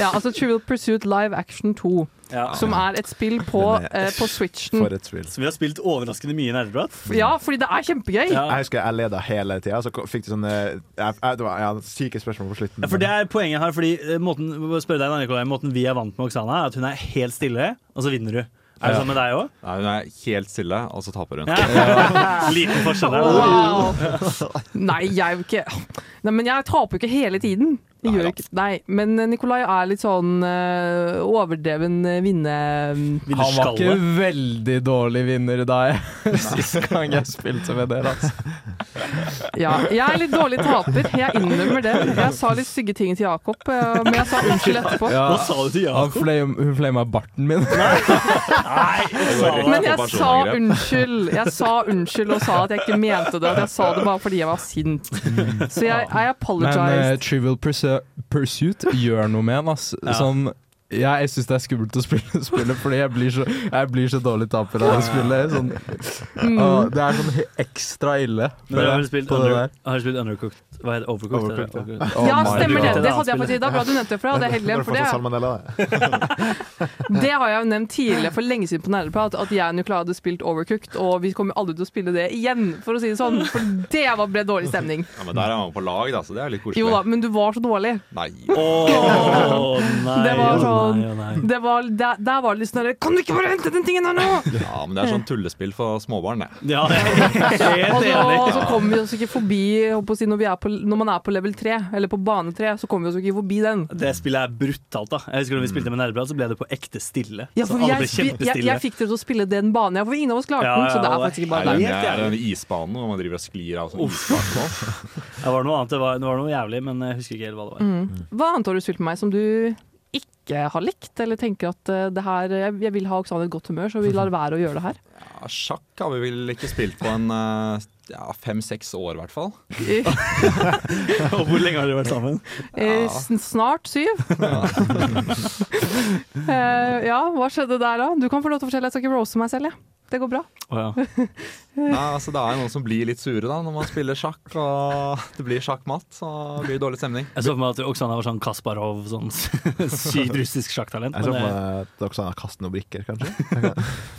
S2: Ja, altså Trivial Pursuit Live Action 2
S4: Ja.
S2: Som er et spill på,
S4: Den er-
S2: eh, på Switchen.
S3: et spill.
S4: Så vi har spilt overraskende mye nerdeprat.
S2: Ja, fordi det er kjempegøy!
S3: Jeg husker jeg leda hele tida, så ko- fikk du sånne jeg, jeg, det var, jeg hadde syke spørsmål på slutten.
S4: Ja, for det er poenget her, fordi eh, måten, må spørre deg, da, Nikolai, måten vi er vant med Oksana, er at hun er helt stille, og så vinner du. Er det
S10: Ja.
S4: sånn med deg òg?
S10: Nei, hun er helt stille, og så taper hun.
S4: Ja. Liten forskjell der.
S2: Wow. Nei, jeg er jo ikke Nei, men jeg taper jo ikke hele tiden. Jeg gjør jo ikke Nei, men eh, Nikolai er litt sånn eh, overdreven eh, vinne... mm,
S5: Han var ikke veldig dårlig vinner da jeg, sist gang jeg spilte med dere. Altså.
S2: Ja, jeg er litt dårlig taper, jeg innrømmer det. Jeg sa litt stygge ting til Jakob, eh, men jeg sa unnskyld etterpå.
S5: Ja,
S4: sa du til
S5: han flame, hun flama barten min.
S2: Men jeg sa
S4: sånn
S2: unnskyld. Jeg sa unnskyld og sa at jeg ikke mente det. At jeg sa det bare fordi jeg var sint. Så jeg I
S5: Mm. Men eh,
S2: apologized.
S5: Trivial Pursu- Pursuit gjør noe med en, ass. Sånn, ja, jeg syns det er skummelt å spille spillet, fordi jeg blir så, jeg blir så dårlig taper av det spillet. Sånn,
S2: Mm.
S5: Åh, det er sånn he- ekstra ille.
S4: Men dere har vel
S5: føler jeg,
S4: spilt,
S5: på det
S4: under,
S5: der.
S4: har dere spilt Undercooked? Hva heter det? Overcooked?
S5: Overcooked,
S4: eller?
S5: ja.
S4: Overcooked. Oh
S2: Ja,
S5: my
S2: stemmer det.
S4: God.
S2: Det hadde jeg faktisk i dag. Bra du nevnte det, for det hadde jeg helt glemt. For
S3: Bare fått
S2: det
S3: salmonella, det.
S2: Det har jeg jo nevnt tidligere for lenge siden på Nerdeprat, at jeg og Nicolai hadde spilt Overcooked, og vi kommer aldri til å spille det igjen, for å si det sånn. For det var ble dårlig stemning.
S10: Ja, men der er man på lag, da, så det er litt koselig.
S2: Jo da, men du var så dårlig.
S10: Nei.
S4: Å, nei,
S2: Det var
S4: å,
S2: sånn
S4: nei, å, nei.
S2: det var, der, der var det litt sånn der, Kan du ikke bare hente den tingen her nå?!
S10: Ja, men det er sånn tullespill for småbarn, det.
S4: Ja, det er
S2: Og
S4: helt
S2: så, og så
S4: enig.
S2: kommer vi oss ikke forbi jeg håper å si, når, vi er på, når man er på level 3, eller på bane 3, så kommer vi oss ikke forbi den.
S4: Det spillet er brutalt, da. Jeg husker da vi spilte med Nerdeprat, så ble det på ekte stille.
S2: Ja,
S4: så
S2: for
S4: alle
S2: jeg,
S4: ble
S2: jeg, jeg,
S4: kjempestille.
S2: fikk dere til å spille den banen, ja, for ingen av oss klarte
S4: Ja,
S2: den. Så
S4: ja,
S2: det er
S4: alle-
S2: faktisk ikke
S10: Nei,
S2: bare
S10: den
S2: deg.
S10: er den isbanen hvor man driver og sklir av sånn isbane.
S4: Det var noe annet, det var, det var noe jævlig, men jeg husker ikke helt hva det var.
S2: Mm. Hva annet har du spilt med meg som du ikke har likt, eller tenker at eh, det her Jeg, jeg vil ha Oksane i et godt humør, så vi lar være å gjøre det her.
S10: Ja, sjakk har vi vel ikke spilt på en eh, ja, fem-seks år, i hvert fall.
S2: I,
S4: Og hvor lenge har dere vært sammen?
S2: i sn- snart syv. Eh, ja, hva skjedde der da? Du kan få lov til å fortelle, jeg skal ikke rose meg selv, jeg. Det går bra.
S4: Å, ja.
S10: Nei, altså, det er noen som blir litt sure da når man spiller sjakk, og det blir sjakkmatt. Så blir det dårlig stemning.
S4: Jeg så for meg at Oksana var sånn Kasparov, sånn sykt russisk sjakktalent.
S3: Jeg så på
S4: Men
S3: meg at dere sa kaste noen brikker, kanskje.
S4: det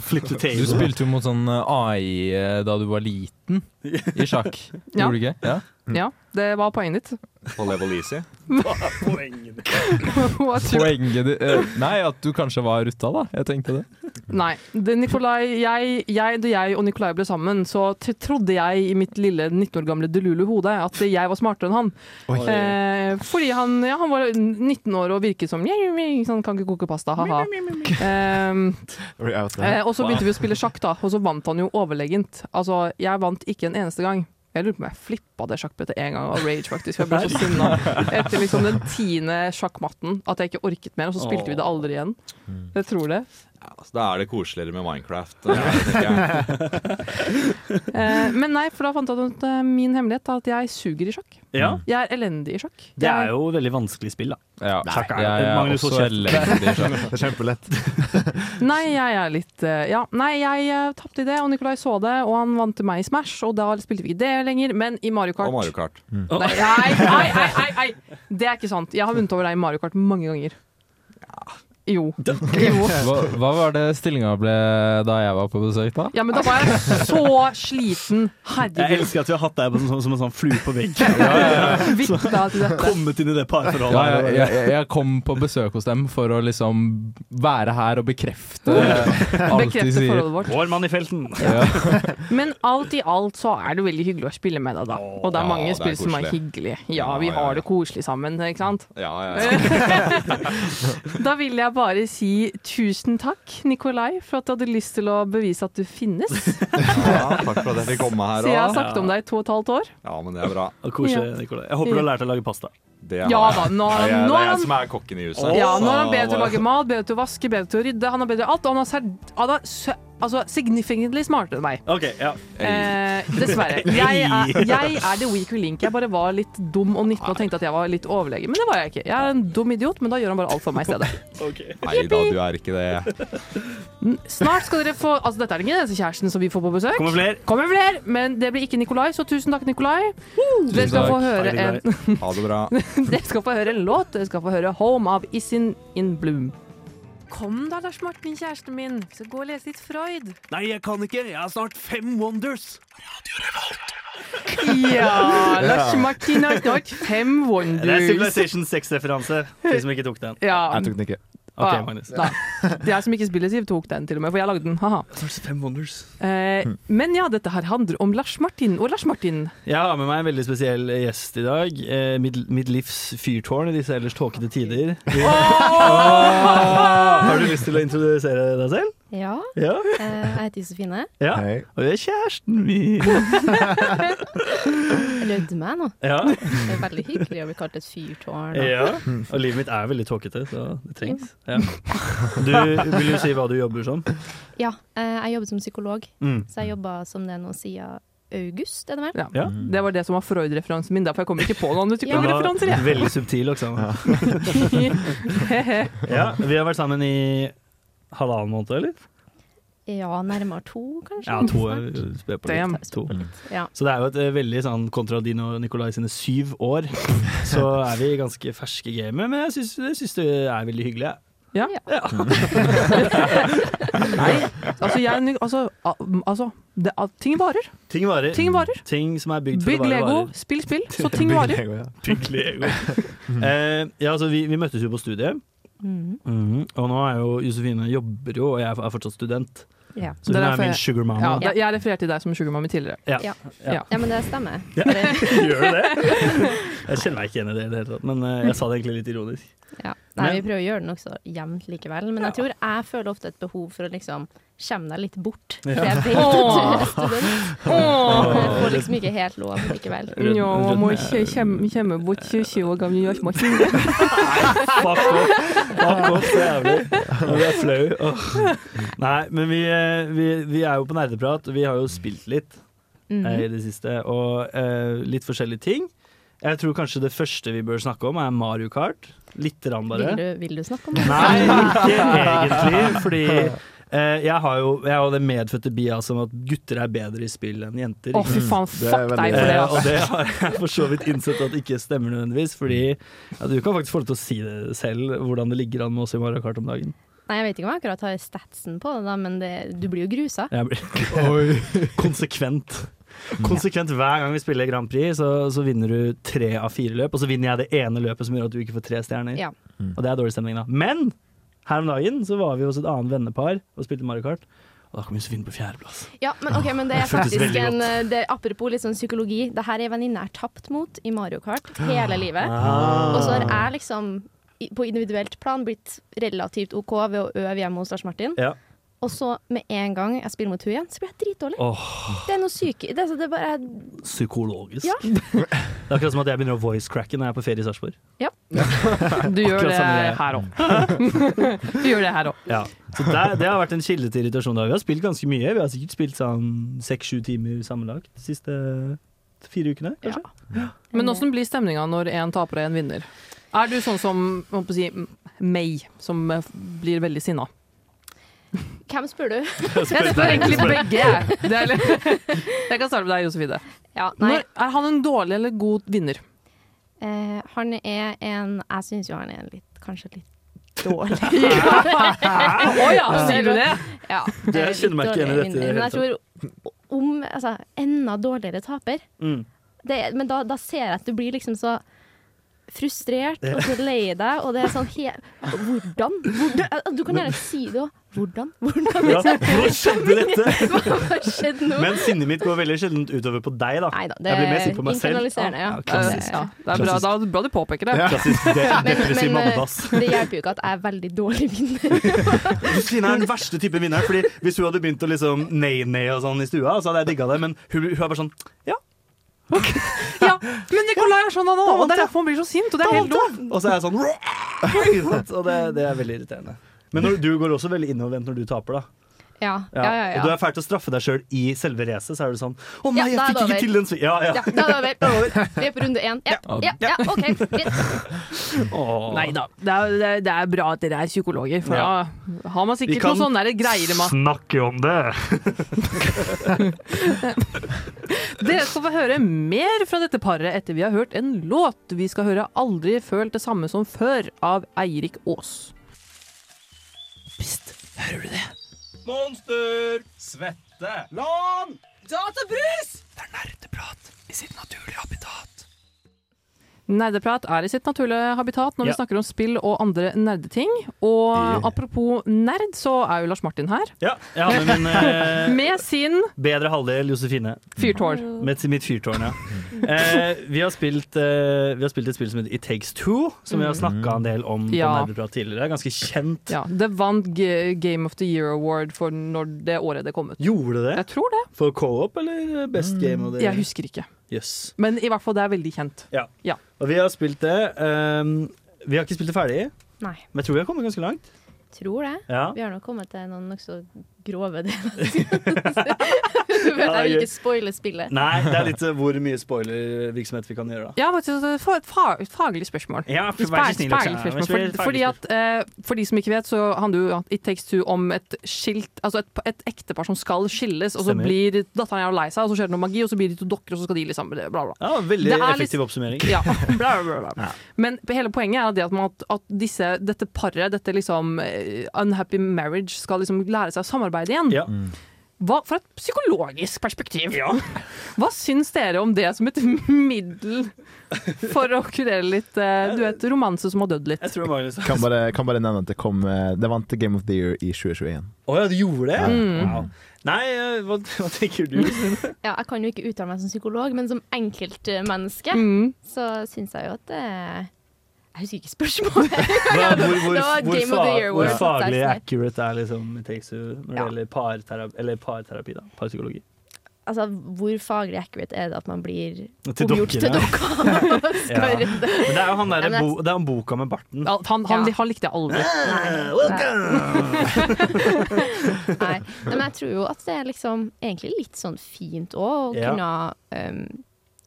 S4: flipped the
S5: Du
S4: table.
S5: spilte jo mot sånn eh, AI eh, da du var liten, i sjakk.
S2: Ja.
S5: Gjorde du ikke? Ja.
S2: Ja, det var poenget ditt.
S10: På level easy.
S2: What you-
S5: Poenget ditt eh, Nei, at du kanskje var rutta, da. Jeg tenkte det.
S2: Nei. Det Nikolai, jeg, jeg, da jeg og Nikolai ble sammen, så t trodde jeg i mitt lille 19 år gamle delulu-hode at jeg var smartere enn han. Eh, fordi han, ja, han var 19 år og virket som sånn, Kan ikke koke pasta, ha-ha. Eh,
S3: Jeg vet ikke.
S2: Eh, og så begynte vi å spille sjakk, da, og så vant han jo overlegent. Altså, jeg vant ikke en eneste gang. Jeg lurer på om jeg flippa det sjakkbrettet én gang av rage, faktisk. for Jeg ble så sinna etter liksom den tiende sjakkmatten at jeg ikke orket mer, og så spilte vi det aldri igjen. Jeg tror det.
S10: Ja, så da er det koseligere med Minecraft. eh, tenker jeg.
S2: Eh, men nei, for da fant jeg ut eh, min hemmelighet, da, at jeg suger i sjakk.
S4: Ja,
S10: Mm.
S2: Jeg er elendig i sjakk.
S4: det er jo veldig vanskelig spill, da.
S5: Ja.
S4: Sjakk er-
S5: Jeg er
S4: Magnus, hold
S5: også elendig i sjakk.
S3: Det er kjempelett.
S2: Nei, jeg er litt eh, Ja, nei, jeg eh, tapte i det, og Nikolai så det, og han vant til meg i Smash, og da spilte vi ikke det lenger, men i Mario Kart.
S10: Og Mario Kart.
S4: Mm.
S2: Nei, nei, nei, nei, nei, nei. Det er ikke sant. Jeg har vunnet over deg i Mario Kart mange ganger. Jo. jo.
S5: Hva, hva var det stillinga ble da jeg var på besøk, da?
S2: Ja, men da var jeg så sliten.
S4: Jeg
S2: Herregud.
S4: elsker at vi har hatt deg på sånn- som en sånn flue på veggen.
S2: Vitna til dette.
S4: Kommet inn i det
S5: Ja, jeg,
S4: parforholdet.
S5: jeg, jeg kom på besøk hos dem for å liksom være her og bekrefte alt de
S2: Bekrefter
S5: sier.
S2: forholdet vårt.
S4: Vår mann i felten.
S5: Ja.
S2: Men alt i alt så er det veldig hyggelig å spille med deg, da. Og det er
S10: Ja,
S2: mange
S10: det er
S2: spill som er
S10: koselig.
S2: hyggelige. Ja,
S10: Ja,
S2: vi
S10: ja, ja.
S2: har det koselig sammen, ikke sant?
S10: Ja, ja, ja.
S2: Da vil jeg bare si tusen takk, Nikolai, for at du hadde lyst til å bevise at du finnes.
S10: ja takk for at jeg fikk komme her.
S2: Så jeg har
S10: også.
S2: snakket om deg i to og et halvt år.
S10: Ja, men det er bra.
S4: Og Koselig,
S2: Ja.
S4: Nikolai. Jeg håper du har lært deg å lage pasta.
S10: Det er,
S2: Ja da, nå er
S10: det,
S2: han- nå er
S10: er, det er
S2: han-
S10: jeg som er kokken i huset.
S2: Ja, nå er han
S10: Så
S2: bedre til å
S10: bare-
S2: lage mat, bedre til å vaske, bedre til å rydde. Han er bedre i alt. Og han er, sær- han er sø- altså, significantly smartere enn meg.
S4: Ok, ja.
S2: Eh, dessverre. Jeg er, jeg er the weaker link. Jeg bare var litt dum og 19 og tenkte at jeg var litt overlegen. Men det var jeg ikke. Jeg er en dum idiot, men da gjør han bare alt for meg i stedet.
S10: Nei da, du er ikke det.
S2: Snart skal dere få Altså, dette er den eneste kjæresten som vi får på besøk.
S4: Kommer flere?
S2: Kommer flere, men det blir ikke Nikolai, så tusen takk, Nikolai. Dere skal få
S4: Hei,
S2: høre en
S4: Nikolai.
S10: Ha det bra.
S2: Dere skal få høre en låt. Dere skal få høre 'Home' av Isin in Bloom. Kom da, Lars Martin, kjæresten min. Vi skal gå og lese litt Freud.
S9: Nei, jeg kan ikke. Jeg har snart fem wonders.
S2: Ja, Lars Martin har snart fem
S4: Det er
S2: wonders.
S4: Civilization 6-referanse, de som ikke tok den.
S2: Ja. Ah,
S3: Jeg tok den ikke.
S4: Ok,
S2: Ja,
S4: Magnus.
S2: Nei. Det er jeg som ikke spiller Siv, tok den til og med, for jeg lagde den. Haha.
S4: Fem wonders.
S2: Eh,
S4: Hmm.
S2: men ja, dette her handler om Lars Martin. Og Lars Martin,
S4: Jeg har med meg en veldig spesiell gjest i dag. Eh, Mitt, mitt livs fyrtårn i disse ellers tåkete tider. Har du lyst til å introdusere deg selv?
S12: Ja,
S4: Ja.
S12: eh, jeg heter Josefine.
S4: ja. Og det er kjæresten min.
S12: Jeg Rødde meg nå.
S4: Ja.
S12: Det er veldig hyggelig å bli kalt et fyrtårn. og-
S4: ja. Og livet mitt er veldig tåkete, så det trengs. Ja. Du, vil du si hva du jobber som?
S12: Ja, eh, jeg jobber som psykolog,
S4: Mm.
S12: så jeg jobba som det nå siden august, er det vel?
S2: Ja.
S4: Hmm.
S2: det var det som var Freud-referansen min, derfor jeg kom ikke på noen
S12: Ja.
S4: Den var
S2: psykologreferanser. jeg.
S4: Veldig subtil også.
S2: Hehe.
S4: Ja, vi har vært sammen i halvannen måned, eller?
S12: Ja, nærmere to, kanskje.
S4: Ja, to.
S12: Snart.
S4: Spe på
S2: Damn.
S4: litt. to.
S12: Ja.
S4: Så det er jo et eh, veldig sånn kontra din og Nikolai sine syv år, så er vi ganske ferske i gamet, men jeg syns, jeg syns det er veldig hyggelig. jeg.
S2: Ja. Nei, altså, jeg, altså, al- altså det, al- Ting varer.
S4: Ting varer.
S2: Ting varer.
S4: Ting som er bygd for
S2: Bygg
S4: å vare
S2: Lego,
S4: varer.
S2: spill spill, så ting varer.
S4: Bygg Lego. Eh, ja, altså, vi, vi møttes jo på studiet,
S12: Mhm.
S4: Mhm. og nå er jo Josefine jobber jo, og jeg er fortsatt student.
S12: Ja.
S4: Så hun
S2: Det er
S4: er
S2: derfor
S4: min
S2: jeg-
S4: sugar mama.
S2: Ja, da- jeg refererte til deg som sugarmammy tidligere.
S4: Ja.
S12: Ja.
S4: Ja.
S12: ja, men det stemmer.
S4: Ja.
S12: Det,
S4: Gjør du det? Jeg kjenner meg ikke igjen i det i det hele tatt, men eh, jeg sa det egentlig litt ironisk.
S12: ja. Nei,
S4: Men-
S12: vi prøver å gjøre den også jevnt likevel, men jeg tror jeg føler ofte et behov for å liksom komme deg litt bort. For
S4: Ja.
S12: jeg vet at du er student. Jeg får liksom ikke helt lov likevel.
S4: Rød-
S2: Ja, man må
S4: rødme-
S2: ikke kjem- kjemme bort 20 år gamle Lars Martin.
S4: Fuck off, fuck off, så jævlig. Nå blir jeg flau. Åh. Nei, men vi, eh, vi, vi er jo på nerdeprat, og vi har jo spilt litt
S12: Mhm.
S4: eh, i det siste, og eh, litt forskjellige ting. Jeg tror kanskje det første vi bør snakke om, er Mario Kart. Litt rann bare.
S12: Vil du, vil du snakke om det?
S4: Nei, ikke egentlig, fordi eh, jeg har jo jeg har jo det medfødte bia som at gutter er bedre i spill enn jenter.
S2: Å,
S4: ikke
S2: fy
S4: sant?
S2: faen,
S3: Det er
S2: fuck
S3: veldig-
S2: deg for det.
S4: Eh, og
S2: altså. ass.
S4: det har jeg for så vidt innsett at ikke stemmer nødvendigvis, fordi ja, du kan faktisk få lov til å si det selv, hvordan det ligger an med oss i Mario Kart om dagen.
S12: Nei, jeg vet ikke om jeg akkurat har statsen på det, da, men det, du blir jo grusa.
S4: Jeg blir konsekvent. Konsekvent hver gang vi spiller Grand Prix, så, så vinner du tre av fire løp, og så vinner jeg det ene løpet som gjør at du ikke får tre stjerner.
S12: Ja.
S4: Og det er dårlig stemning, da. Men her om dagen så var vi hos et annet vennepar og spilte Mario Kart, og da kom Josefine på fjerdeplass.
S12: ja, men ok, men det
S4: Det
S12: er
S4: føltes
S12: faktisk
S4: veldig
S12: en
S4: godt.
S12: eh, det, Apropos litt sånn psykologi. Det her er en venninne jeg har tapt mot i Mario Kart hele livet.
S2: Ah.
S12: Og så har jeg liksom i- på individuelt plan blitt relativt OK ved å øve hjemme hos Lars Martin.
S4: Ja.
S12: Og så med en gang jeg spiller mot henne igjen, så blir jeg dritdårlig.
S4: Åh,
S12: Det er noe syke... Det, er så- det er bare
S4: psykologisk.
S12: Ja.
S4: Det er akkurat som at jeg begynner å voice-cracke når jeg er på ferie i Sarpsborg.
S2: Du gjør
S4: akkurat
S2: det
S4: samme greie. Mm.
S2: her òg. Du gjør det her òg.
S4: Ja. Så der, det har vært en kilde til irritasjon. Da. Vi har spilt ganske mye. Vi har sikkert spilt sånn seks-sju timer sammenlagt de siste fire ukene, kanskje.
S2: Men åssen blir stemninga når én taper og én vinner? Er du sånn som hva må jeg si, meg, som eh, blir veldig sinna?
S12: Hvem spør du?
S2: Jeg spør egentlig begge, jeg. Det er litt- Jeg kan starte med deg, Josefine.
S12: Ja, nei.
S2: Når, er han en dårlig eller god vinner?
S12: Eh, han er en Jeg syns jo han er en litt, kanskje litt dårlig.
S2: Å ja, sier du det?
S12: Ja,
S4: Det
S12: er
S4: jeg kjenner meg
S12: litt
S4: ikke igjen i dette i
S12: dårlig
S4: det
S12: vinner. Men jeg
S4: hele
S12: tror om altså, enda dårligere taper.
S4: Mm.
S12: Det, er- men da, da ser jeg at du blir liksom så frustrert og så lei deg, og det er sånn he Hvordan? Hvordan? Du kan gjerne si det òg. Hvordan? Hvordan?
S4: Ja, hvor skjedde dette?
S12: Hva har skjedd nå?
S4: Men sinnet mitt går veldig sjelden utover på deg, da.
S12: Neida, det
S4: jeg blir mer sint på meg
S12: er
S4: selv.
S12: internaliserende, ja.
S4: klassisk.
S2: Ja, det er bra, da, er det bra du påpeker det.
S4: Klassisk de
S12: Men,
S4: depressiv
S12: men eh,
S4: mammedass.
S12: det hjelper jo ikke at jeg er veldig dårlig vinner.
S4: Josefine er den verste type vinner. Fordi Hvis hun hadde begynt å liksom nei-nei og sånn i stua, så hadde jeg digga det, men hun, hun er bare sånn Ja,
S2: Ja, men Nicolai er sånn han òg, og det er derfor han blir så sint. Og det er helt lov.
S4: og så er jeg sånn ikke sant? Og det, det er veldig irriterende. Men når, du går også veldig innovervendt når du taper, da.
S12: Ja, ja,
S4: Ja.
S12: ja, ja.
S4: Og du er fæl til å straffe deg sjøl i selve racet, så er du sånn Å nei,
S12: Ja, da
S4: jeg
S12: er det
S4: fikk ikke
S12: over.
S4: til den svi... Ja, ja.
S12: Ja, da er det over. Vi er på runde én. Ja, ja, ja, OK.
S4: Åh.
S2: Nei da, det er, det er- det er bra at dere er psykologer, for
S4: Ja.
S2: da har man
S4: Vi
S2: sikkert
S4: kan
S2: noen sånne sånn der greier man
S4: Snakke om det!
S2: Dere skal få høre mer fra dette paret etter vi har hørt en låt. Vi skal høre 'Aldri følt det samme som før' av Eirik Aas.
S13: Pst, hører du det? Monster! Svette! Lan! Databrus! Det er nerdeprat i sitt naturlige habitat.
S2: Nerdeprat er i sitt naturlige habitat når
S13: Ja.
S2: vi snakker om spill og andre nerdeting. Og apropos nerd, så er jo Lars Martin her.
S4: Ja, jeg har med min eh,
S2: Med sin
S4: bedre halvdel, Josefine.
S2: Fyrtårn.
S4: Med til mitt fyrtårn, ja. Eh, vi, har spilt, eh, vi har spilt et spill som heter It Takes Two, som vi har snakka en del om på
S2: Ja.
S4: Nerdeprat tidligere. Ganske kjent.
S2: Ja, det vant G Game of the Year Award for når det året det kom ut.
S4: Gjorde det?
S2: Jeg tror det.
S4: For co-op eller best game? Of the...
S2: Jeg husker ikke.
S4: Yes.
S2: Men i hvert fall det er veldig kjent.
S4: Ja.
S2: Ja.
S4: Og vi har spilt det. ehm, vi har ikke spilt det ferdig,
S12: Nei,
S4: men jeg tror vi har kommet ganske langt.
S12: tror det.
S4: Ja.
S12: Vi har nå kommet til noen nokså grove deler. jeg vil ikke spoile spillet.
S4: Nei, det er litt eh, hvor mye spoilervirksomhet vi kan gjøre, da.
S2: Ja, faktisk, altså, det er et fa- et faglig spørsmål.
S4: Ja, for-
S2: Et
S4: vær så
S2: fag-
S4: snill,
S2: faglig
S4: Roxanne, vær
S2: spørsmål.
S4: så snill,
S2: For, fordi at, eh, for de som ikke vet, så handler jo at It Takes Two om et skilt Altså et, et ektepar som skal skilles, og så
S4: Stemmer.
S2: blir datteren jævla lei seg, og så skjer det noe magi, og så blir de to dokker, og så skal de liksom bla, bla.
S4: Ja, veldig
S2: Det er litt-
S4: effektiv oppsummering.
S2: Ja. Bla, bla, bla. Men hele poenget er det at, man, at disse, dette paret, dette liksom eh, unhappy marriage, skal liksom lære seg å samarbeide igjen.
S3: Mm.
S2: Hva, fra et psykologisk perspektiv, hva syns dere om det som et middel for å kurere litt eh, Du vet, romanse som har dødd litt?
S4: Jeg tror Magnus
S3: Kan bare, kan bare nevne at det kom eh, Det vant Game of the Year i 2021.
S4: Å ja, du gjorde det?
S3: Ja. Mm.
S4: Wow. Nei, eh, hva, hva tenker du?
S12: Ja, jeg kan jo ikke uttale meg som psykolog, men som enkeltmenneske så syns jeg jo at det Jeg husker ikke spørsmålet.
S4: Hva- Hvor, hvor,
S12: Det var
S4: hvor,
S12: Game of the
S4: fa-
S12: Year
S4: hvor
S12: Award.
S4: faglig
S2: sånn.
S12: Takk.
S4: accurate er liksom It Takes Two når det
S12: Ja.
S4: gjelder parterapi, eller parterapi, da. Parpsykologi.
S12: Altså, hvor faglig accurate er det at man blir
S4: Til
S12: omgjort til
S4: dokkene.
S12: dokka? og skal
S4: Ja.
S12: redde?
S4: Men det er jo han
S12: Ja,
S4: derre
S12: men
S4: bo, Det er han boka med barten.
S2: Han, han,
S12: Ja.
S2: han likte jeg aldri.
S4: Ah,
S12: Nei. Nei, men jeg tror jo at det er liksom egentlig litt sånn fint òg, å
S4: Ja.
S12: kunne um,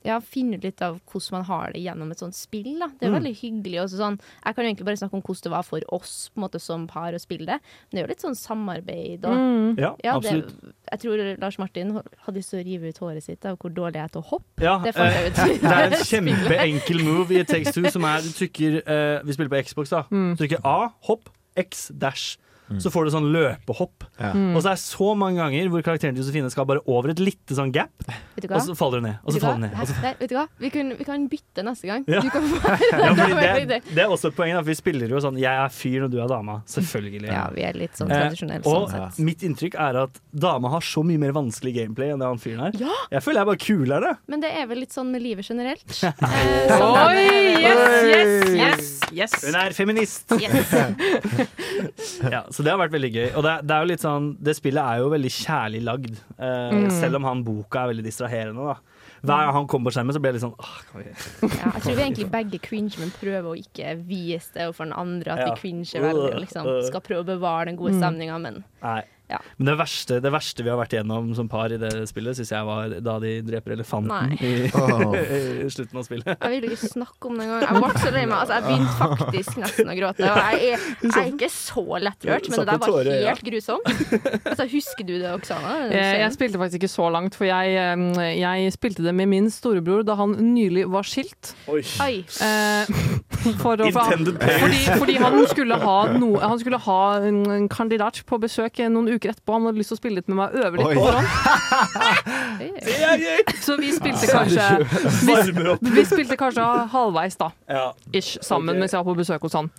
S12: ja, finne ut litt av hvordan man har det gjennom et sånt spill. Da. Det er jo
S4: Mm.
S12: veldig hyggelig. Også, sånn, jeg kan jo egentlig bare snakke om hvordan det var for oss på en måte, som par å spille det, men det er jo litt sånn samarbeid og
S4: Mm. Ja,
S12: det,
S4: absolutt.
S12: Jeg tror Lars Martin hadde lyst til å rive ut håret sitt av hvor dårlig jeg er til å hoppe.
S4: Ja,
S12: det fant
S4: eh,
S12: jeg ut.
S4: det er en kjempeenkel move i It Takes Two som er du trykker eh, Vi spiller på Xbox, da.
S10: Mm.
S4: Trykker A, hopp, X, dash. Så får du sånn løpehopp.
S10: Ja.
S12: Mm.
S4: Og så er det så mange ganger hvor karakteren til Josefine skal bare over et lite sånn gap,
S12: Vet du hva?
S4: og så faller hun ned. Og så
S12: Vet du hva?
S4: faller hun ned. Og så
S12: Nei, nei, vet du hva? Vi, kan- vi kan bytte neste gang.
S4: Ja.
S12: Du kan få
S4: ja,
S12: det
S4: fordi
S12: var en
S4: det,
S12: idé.
S4: det er også et poeng, da, for vi spiller jo sånn 'jeg er fyr og du er dama'. Selvfølgelig.
S12: Ja, vi er litt sånn
S4: Eh,
S12: tradisjonelle
S4: og
S12: sånn sett.
S4: mitt inntrykk er at dama har så mye mer vanskelig gameplay enn det han fyren her.
S12: Ja.
S4: Jeg føler jeg er bare kulere.
S12: Men det er vel litt sånn med livet generelt.
S2: Oi! Yes, yes, yes! yes.
S4: Hun er feminist! ja, så det har vært veldig gøy. Og det, er- det er jo litt sånn Det spillet er jo veldig kjærlig lagd, eh,
S12: Mm.
S4: selv om han boka er veldig distraherende, da. Hver gang han kommer på skjermen, så blir jeg litt sånn Åh, kan vi
S12: Ja, jeg tror vi egentlig begge cringe, men prøver å ikke vise det overfor den andre at
S4: Ja. Øh,
S12: vi cringer veldig. og Liksom. Skal prøve å bevare den gode
S4: Mm.
S12: stemninga, men
S4: Nei.
S12: Ja.
S4: Men det verste, det verste vi har vært igjennom som par i det spillet, syns jeg var da de dreper elefanten
S12: Nei.
S4: i, i
S12: Åh.
S4: slutten av spillet.
S12: jeg vil ikke snakke om det engang. Jeg ble så lei meg. Altså, jeg begynte faktisk nesten å gråte. Og jeg er, jeg er ikke så lettrørt, men det der var helt grusomt. Altså, husker du det, Oksana?
S2: Eh, Jeg, jeg spilte faktisk ikke så langt, for jeg, em, jeg spilte det med min storebror da han nylig var skilt.
S4: Oi.
S12: Oi.
S2: Eh, for å,
S4: Intended players.
S2: fordi, fordi han skulle ha, noe- han skulle ha en, en kandidat på besøk noen uker etterpå. Han hadde lyst til å spille litt med meg og øve litt.
S13: Oi.
S2: på forhånd. Så vi spilte kanskje
S13: Varmer opp.
S2: vi, vi spilte kanskje halvveis, da.
S4: Ja.
S2: Ish, sammen
S4: Ok.
S2: mens jeg var på besøk hos han.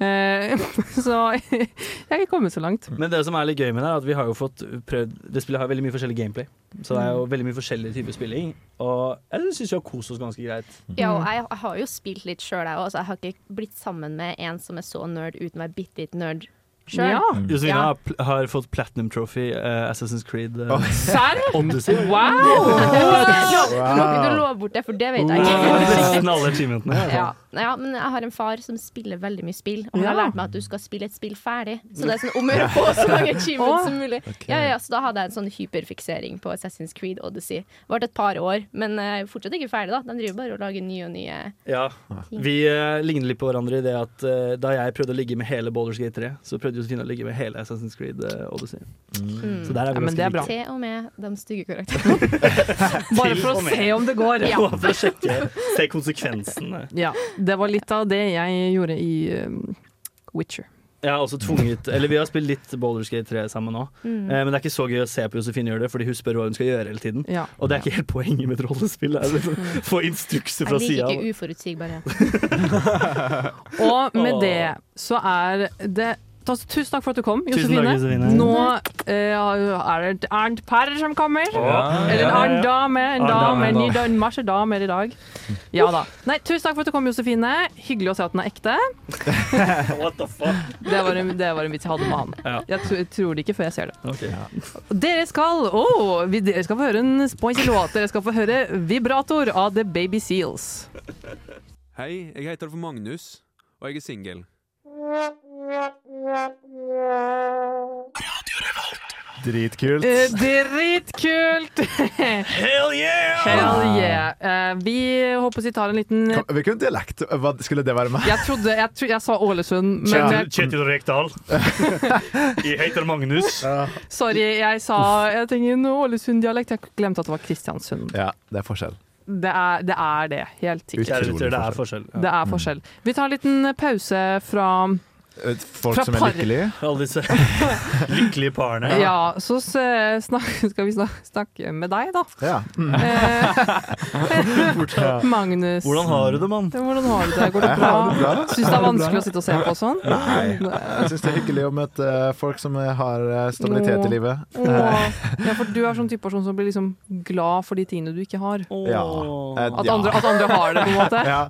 S2: Eh, så jeg er ikke kommet så langt.
S4: Men det som er litt gøy med det, er at vi har jo fått prøvd Det spillet har veldig mye forskjellig gameplay. Så det er
S2: Mm.
S4: jo veldig mye forskjellig type spilling. Og jeg syns vi har kost oss ganske greit.
S12: Ja,
S2: Mhm.
S12: og jeg, jeg har jo spilt litt sjøl, jeg òg. så Jeg har ikke blitt sammen med en som er så nerd uten å være bitte litt nerd sjøl.
S4: Josefina Mm. har pl- har fått Platinum Trophy, eh, Assassin's Creed eh,
S2: Serr?
S4: Odyssey.
S2: Wow!
S12: Nå kan du love bort det, for det vet jeg ikke.
S4: Nesten alle altså. achievementene. i hvert
S12: Ja.
S4: fall.
S12: ja, men jeg har en far som spiller veldig mye spill, og han har
S4: Ja.
S12: lært meg at du skal spille et spill ferdig. Så det er sånn om å gjøre å få så mange achievements som mulig. Ja, ja, så da hadde jeg en sånn hyperfiksering på Assassin's Creed Odyssey. Vart et par år, men eh, fortsatt ikke ferdig, da. De driver bare og lager nye og nye.
S4: Ja. Vi eh, ligner litt på hverandre i det at eh, da jeg prøvde å ligge med hele Baldur's Gate 3, så prøvde Josefine å ligge med hele Assassin's Creed eh, Odyssey.
S12: Mm.
S4: Så der er vi ganske like.
S12: Til og med de stygge karakterene.
S2: Bare
S4: Til
S2: for
S4: og
S2: å
S4: med.
S2: se om det går.
S4: Bare for å sjekke, se eh. konsekvensene.
S2: Ja, det var litt av det jeg gjorde i um, Witcher.
S4: Jeg har også tvunget Eller vi har spilt litt Boulderskate 3 sammen nå.
S2: Mm.
S4: Eh, men det er ikke så gøy å se på Josefine gjøre det, fordi hun spør hva hun skal gjøre hele tiden.
S2: Ja. Mm.
S4: Og det er ikke helt poenget med et rollespill. det er Liksom, få instrukser fra
S12: Jeg
S4: sida.
S12: liker ikke uforutsigbarhet.
S2: Og med
S4: Åh.
S2: det så er det ta- Tusen takk for at du kom,
S4: Tusen
S2: Josefine.
S4: takk, Josefine.
S2: Nå eh, er det et ernt par som kommer.
S4: Ja,
S2: Eller
S4: ja,
S2: en annen
S4: ja.
S2: dame, en
S4: Arnt
S2: dame,
S4: dame,
S2: en ny
S4: da.
S2: da- en masse damer i dag. Ja da. Nei, tusen takk for at du kom, Josefine. Hyggelig å se at den er ekte.
S4: What the fuck?
S2: Det var en, det var en vits jeg hadde med han.
S4: Ja.
S2: Jeg tro, tror det ikke før jeg ser det.
S4: Ok.
S2: Dere skal oh, vi, Dere skal få høre en spicy låt. Dere skal få høre 'Vibrator' av The Baby Seals.
S9: Hei, jeg heter for Magnus, og jeg er singel.
S3: Dritkult.
S2: Eh, Dritkult! Hell
S4: yeah!
S2: Hell yeah. Eh, vi håper vi tar en liten
S3: Kan- Hvilken dialekt hva, skulle det være med?
S2: Jeg trodde jeg, tro, jeg sa Ålesund, men jeg,
S4: Kjetil Rekdal. Jeg heter Magnus.
S2: sorry, jeg sa Jeg tenker en Ålesund-dialekt. Jeg glemte at det var Kristiansund.
S3: Ja, det er forskjell.
S2: Det er det, er det helt
S4: Kjære
S2: sikkert.
S4: lytter, det er forskjell. Mm.
S2: Det er forskjell. Vi tar en liten pause fra
S3: Eh, Folk
S2: Fra
S3: som er
S2: par-
S3: lykkelige.
S4: Alle disse lykkelige parene.
S2: Ja, så s- eh, snak, skal vi snak, snakke med deg, da.
S3: Ja.
S2: Eh,
S4: Hvordan-
S2: Magnus.
S4: Hvordan har du det, mann?
S2: Hvordan har du det? Går det
S3: Jeg
S2: bra?
S3: har det bra.
S2: Syns det er vanskelig å sitte og se på sånn?
S3: Nei. Jeg syns det er hyggelig å møte eh, folk som eh, har eh, stabilitet
S2: Åh.
S3: i livet. Eh,
S2: Åh. Ja, for du er sånn type person som blir liksom glad for de tingene du ikke har.
S3: Ja. Eh,
S2: At,
S3: ja.
S2: andre, at andre har det, på en måte.
S3: Ja.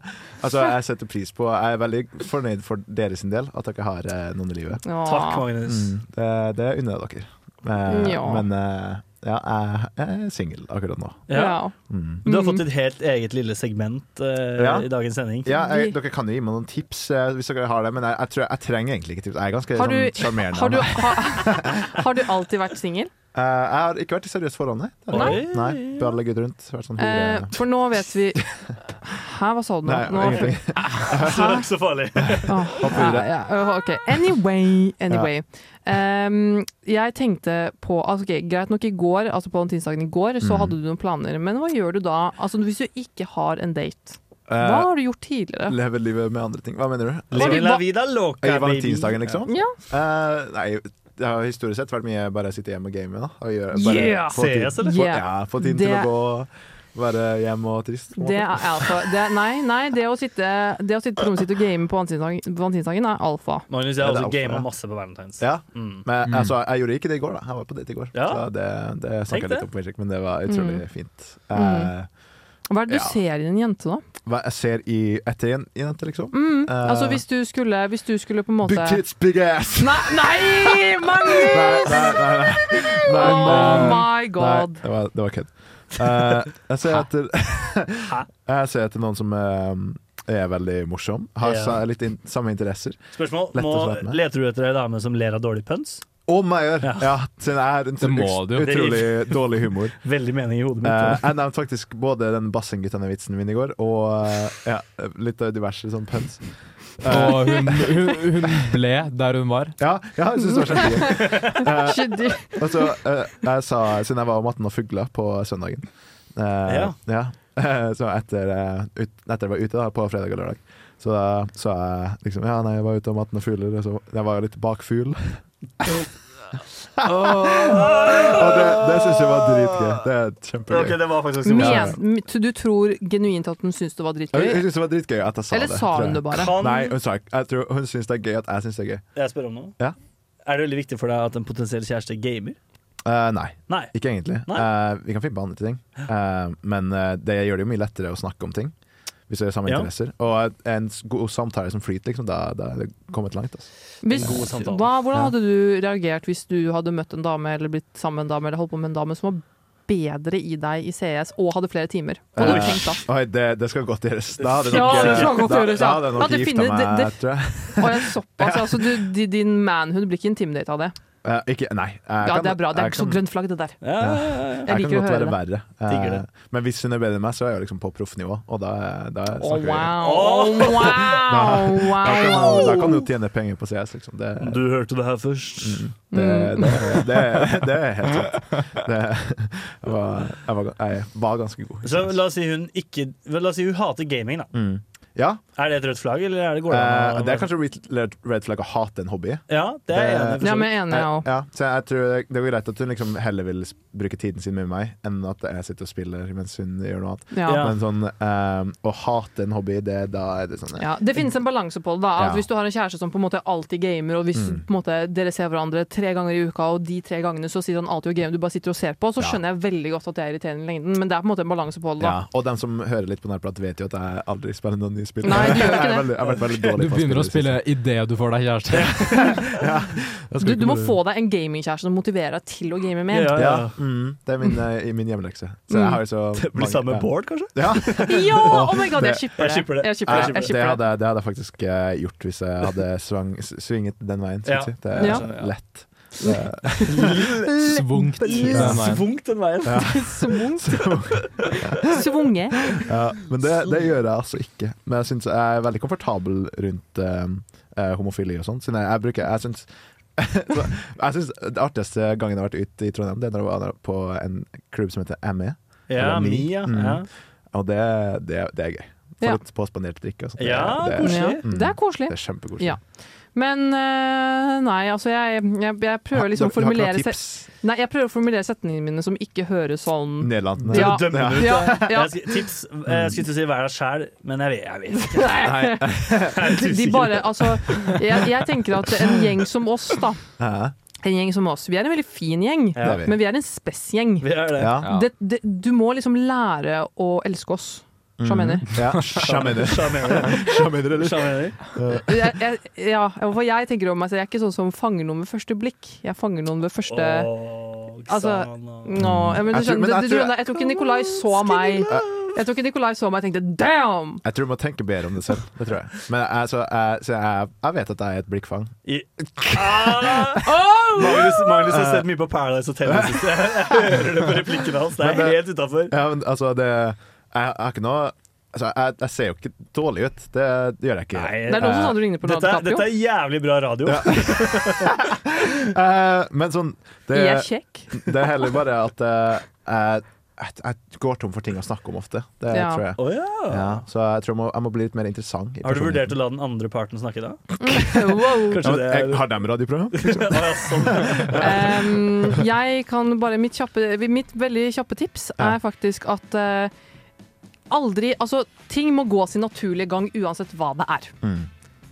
S3: Altså, jeg setter pris på Jeg er veldig fornøyd for deres sin del at dere har eh, noen i livet.
S2: Ja. Takk,
S4: Magnus.
S3: Mm, det det unner jeg dere. Eh,
S2: Ja.
S3: Men eh, ja, jeg, jeg er singel akkurat nå.
S2: Ja.
S3: Mm.
S4: Du har fått et helt eget lille segment eh,
S3: Ja.
S4: i dagens sending.
S3: Ja, jeg, dere kan jo gi meg noen tips eh, hvis dere har det, men jeg, jeg, tror, jeg trenger egentlig ikke tips. Jeg er ganske
S2: Har du,
S3: sånn sjarmerende.
S2: har, du,
S3: av meg.
S2: har, har du alltid vært singel?
S3: Eh, jeg har ikke vært i seriøst forhold, nei. Det har jeg ikke. nei Bare legget rundt. Vært sånn hore.
S2: Eh, for nå vet vi Hæ, hva sa du nå?
S3: Nei,
S2: nå
S3: ingenting.
S4: Så det er ikke så farlig.
S2: Åh,
S4: Hopp
S2: ja,
S4: videre.
S2: ja, øh, ok. Anyway, anyway. Ehm, jeg tenkte på altså, ok, Greit nok i går, altså på den tirsdagen i går, så
S3: Mm.
S2: hadde du noen planer. Men hva gjør du da? Altså Hvis du ikke har en date,
S3: Eh,
S2: hva har du gjort tidligere?
S3: Leve livet med andre ting. Hva mener du?
S4: Leve la vida loca,
S3: I valentinsdagen, liksom?
S2: Ja.
S3: Eh, nei, det har historisk sett vært mye bare å sitte hjemme og game. Da, og gjøre, bare
S2: Yeah!
S3: få tid-
S4: Ses, eller?
S3: Få,
S2: Yeah.
S3: ja, få tiden til å
S2: Det-
S3: gå være hjemme og trist. på en måte.
S2: Det er alfa. Det er, nei, nei, det å sitte, det å sitte på rommet sitt og game på valentinsdagen valentinsdagen er alfa.
S4: Magnus, jeg har
S3: Ja, det er
S4: også
S3: alfa,
S4: gama
S3: ja.
S4: masse på Valentine's.
S3: Ja.
S4: Mm.
S3: Men altså, jeg gjorde ikke det i går, da. Jeg var på date i går.
S4: Ja.
S3: Så det, det
S4: Tenk
S3: snakka
S4: det.
S3: litt om, Magic, men det var utrolig
S2: Mm.
S3: fint. Eh,
S2: Mm. Hva er det du
S3: Ja.
S2: ser i en jente, da?
S3: Hva jeg ser i etter en jente, liksom.
S2: Mm,
S3: Eh,
S2: altså hvis du skulle, hvis du skulle på en måte
S3: Big tits, big ass!
S2: Nei, nei Magnus!
S3: Nei, nei, nei, nei. Nei, eh,
S2: Oh
S3: nei.
S2: my god.
S3: Nei, det var, det var kødd. Eh, jeg, ser etter, jeg ser etter noen som eh, er veldig morsom, har
S4: Ja.
S3: sa, litt in, samme interesser.
S4: Spørsmål.
S3: Lett
S4: Må,
S3: å svare med.
S4: leter du etter ei dame som ler av dårlig pønns?
S3: Om jeg gjør! Ja, siden jeg har en
S5: Det må du jo.
S3: utrolig dårlig humor.
S4: Veldig mening i hodet mitt.
S3: Eh, jeg nevnte faktisk både den bassenguttene-vitsen min i går, og eh, ja, litt av diverse sånn pønsk.
S5: Og hun, hun, hun ble der hun var.
S3: Ja, ja, jeg syns det var kjempegøy. Eh,
S2: Skjønner.
S3: og så, eh, jeg sa, siden jeg var om 18 og fugla på søndagen eh,
S4: Ja.
S3: eh, Så etter, eh, ut, etter jeg var ute da, på fredag og lørdag, så da sa jeg liksom Ja, nei, jeg var ute om 18 og fugler, og så jeg var jo litt bakfugl. og det, det syns jeg var dritgøy. Det er kjempegøy.
S4: Ok, det var faktisk
S3: Ja.
S2: Men, m- så du tror genuint at hun syns det var
S3: Jeg, jeg
S2: dritgøy?
S3: syns det var dritgøy at jeg sa
S2: Eller
S3: det.
S2: sa
S3: tror
S2: hun
S3: jeg.
S2: det bare?
S4: Kan-
S3: Nei, hun sa ikke Jeg tror hun syns det er gøy at jeg syns det er gøy.
S4: Jeg spør om noe.
S3: Ja.
S4: Er det veldig viktig for deg at en potensiell kjæreste gamer?
S3: Eh, nei.
S4: Nei.
S3: Ikke egentlig.
S4: Nei.
S3: Eh, vi kan finne på andre ting. Eh, men eh, det gjør det jo mye lettere å snakke om ting. Hvis vi har samme
S4: Ja.
S3: interesser. Og eh, en s- god samtale som flyter, liksom, da, da er det kommet langt. Altså.
S2: Hvis,
S4: God samtale.
S2: hva, hvordan hadde du reagert hvis du hadde møtt en dame eller blitt sammen med en dame eller holdt på med en dame som var bedre i deg i CS og hadde flere timer? Hva hadde
S3: Eh,
S2: du tenkt da?
S3: Oi, det, det skal godt gjøres. Da hadde
S2: Ja,
S3: nok, eh,
S2: det skal godt
S3: da,
S2: gjøres,
S3: da
S2: ja.
S3: hadde jeg
S2: Ja,
S3: nok
S2: det
S3: gifta
S2: finner-
S3: meg,
S2: det- det-
S3: tror jeg.
S2: Å, ja, såpass, altså, du, di- din manhood blir ikke intimidatet av det.
S3: Eh, ikke, nei. jeg
S2: Ja,
S3: kan-
S2: det er bra. Det er
S3: jeg
S2: ikke så
S3: kan-
S2: grønt flagg, det der.
S3: Jeg
S2: Jeg
S3: kan
S2: liker å
S3: godt
S2: høre
S3: være
S2: det.
S3: verre.
S4: Digger
S3: Eh,
S4: det.
S3: men hvis hun er bedre enn meg, så er jeg liksom på proffnivå. Og da, da
S2: Å,
S3: snakker vi.
S2: wow. Å, wow.
S3: Da kan hun- Da
S2: wow.
S3: kan hun tjene penger på CS, liksom. Det,
S4: Du hørte det her først.
S3: Det, det, det, det er helt sant. Det, jeg, var, jeg, var, jeg var ganske god.
S4: Så la oss si hun ikke La oss si hun hater gaming, da.
S3: Mm. Ja,
S4: Er det et rødt flagg, eller er det går det an
S3: Eh,
S4: å-
S3: det er kanskje red, red flag å hate en hobby.
S4: Ja, det er jeg enig i, for så vidt. Ja, men jeg er enig, jeg også.
S3: ja, Så jeg tror det, det går greit at hun liksom heller vil s- bruke tiden sin med meg, enn at jeg sitter og spiller mens hun gjør noe annet.
S2: Ja.
S3: Men sånn eh, å hate en hobby, det, da er det sånn
S2: Ja, det finnes en balanse på det. da at
S3: Ja.
S2: Hvis du har en kjæreste som på en måte alltid gamer, og hvis
S3: Mm.
S2: på en måte dere ser hverandre tre ganger i uka, og de tre gangene så sier han alltid å game, du bare sitter og ser på, så skjønner jeg veldig godt at det er irriterende i lengden, men det er på en måte en balanse på det. da
S3: Ja, og dem som hører litt på nærprat, vet jo at jeg aldri spiller noen nye spill.
S2: Nei, du gjør ikke
S3: Jeg er
S2: det.
S3: veldig- jeg er veldig, veldig
S5: Du
S3: dårlig på
S5: begynner å
S3: spill.
S5: spille idet du får deg kjæreste.
S2: Du, du må få deg en gamingkjæreste som motiverer deg til å game mer.
S3: Ja, Mm, det er min, eh, i min hjemmelekse. Så jeg har jo så
S4: Det blir
S3: mange-
S4: samme
S3: ja.
S4: Bård, kanskje?
S3: Ja!
S2: Mm. Ja, oh my god, jeg shipper det.
S4: Jeg shipper det.
S2: Jeg shipper det.
S3: Eh,
S2: Jeg
S3: det,
S2: shipper det.
S3: hadde, jeg- det hadde jeg faktisk eh, gjort hvis jeg hadde svang, s- svinget den veien.
S4: Ja.
S3: Ja. Si. Det er
S4: Ja.
S3: lett.
S2: Mm.
S3: Det-
S5: Svungt
S4: Litt
S3: den veien.
S4: Svungt den veien.
S3: Ja.
S2: Svungt. Svunge.
S3: ja, men det, det gjør jeg altså ikke. Men jeg syns jeg er veldig komfortabel rundt eh, eh, homofili og sånn. siden Jeg, jeg bruker Jeg syns jeg synes Det artigste gangen jeg har vært ute i Trondheim, det er når jeg var på en klubb som heter ME.
S4: Ja,
S3: Eller E. Mm.
S4: Mi, ja, ja.
S3: Og det, det, det er gøy. Få
S2: Ja.
S3: litt påspandert drikke og sånt.
S4: Ja, koselig.
S3: mm,
S2: Det er koselig.
S3: Det er kjempekoselig.
S2: Ja. Men eh, nei, altså jeg, jeg, jeg
S3: Ha-
S2: prøver liksom å
S3: dere- dere
S2: formulere
S3: har ikke noen
S2: se-
S3: tips?
S2: Nei, jeg prøver å formulere setningene mine som ikke høres sånn
S3: Nederlandene.
S2: Ja.
S4: Dømme den ut.
S2: Ja, ja.
S4: Jeg skal- Tips Jeg skulle til å si vær deg sjæl, men jeg vet, jeg vet ikke.
S2: Nei. De, de bare, altså, jeg, jeg tenker at en gjeng som oss, da. En gjeng som oss. Vi er en veldig fin gjeng,
S4: Ja. Det er vi.
S2: men vi er en spessgjeng.
S4: Vi er det. Ja.
S2: Det, det, du må liksom lære å elske oss. Sjamener.
S3: Mm. Ja, sjamener.
S4: Sjamener.
S3: Sjamener, eller?
S4: Sjamener.
S2: Jeg, jeg, ja, for jeg tenker om meg selv, jeg er ikke sånn som fanger noen ved første blikk. Jeg fanger noen ved første Altså nå, ja, men du skjønner,
S3: Jeg tror- men jeg
S2: du,
S3: tror-
S2: skjønner, jeg tror ikke Nikolai så meg Jeg tror ikke Nikolai så meg og tenkte 'damn'!
S3: Jeg tror du må tenke bedre om det selv. Det tror jeg. Men jeg, så jeg, så jeg, jeg vet at jeg er et blikkfang.
S2: Ah! Oh!
S4: Magnus, Magnus har
S3: Eh.
S4: sett mye på Paradise Hotel. i det siste. Jeg hører det på replikkene hans. Det
S3: Men det-
S4: er helt utafor.
S3: Ja, men altså, det Jeg, jeg har ikke noe Altså, jeg, jeg ser jo ikke dårlig ut. Det, gjør jeg ikke.
S2: Det er noen som sa du ligner på
S4: eh, Dette,
S2: Leonardo
S4: er- dette er jævlig bra radio.
S3: Eh, men sånn det,
S2: Jeg er kjekk.
S3: Det er heller bare at eh, jeg, jeg, jeg går tom for ting å snakke om ofte. Det
S4: Ja.
S3: tror jeg.
S4: Å, ja.
S3: Så jeg tror jeg må, jeg må bli litt mer interessant. i
S4: Har du
S3: personligheten.
S4: vurdert å la den andre parten snakke, da?
S3: Ja,
S4: Kanskje
S3: men,
S4: det
S3: jeg,
S4: er sånn.
S3: Har de radioprogram?
S2: Ehm, jeg kan bare mitt, kjappe, mitt veldig kjappe tips er faktisk at eh, aldri Altså, ting må gå sin naturlige gang uansett hva det er.
S13: Mm.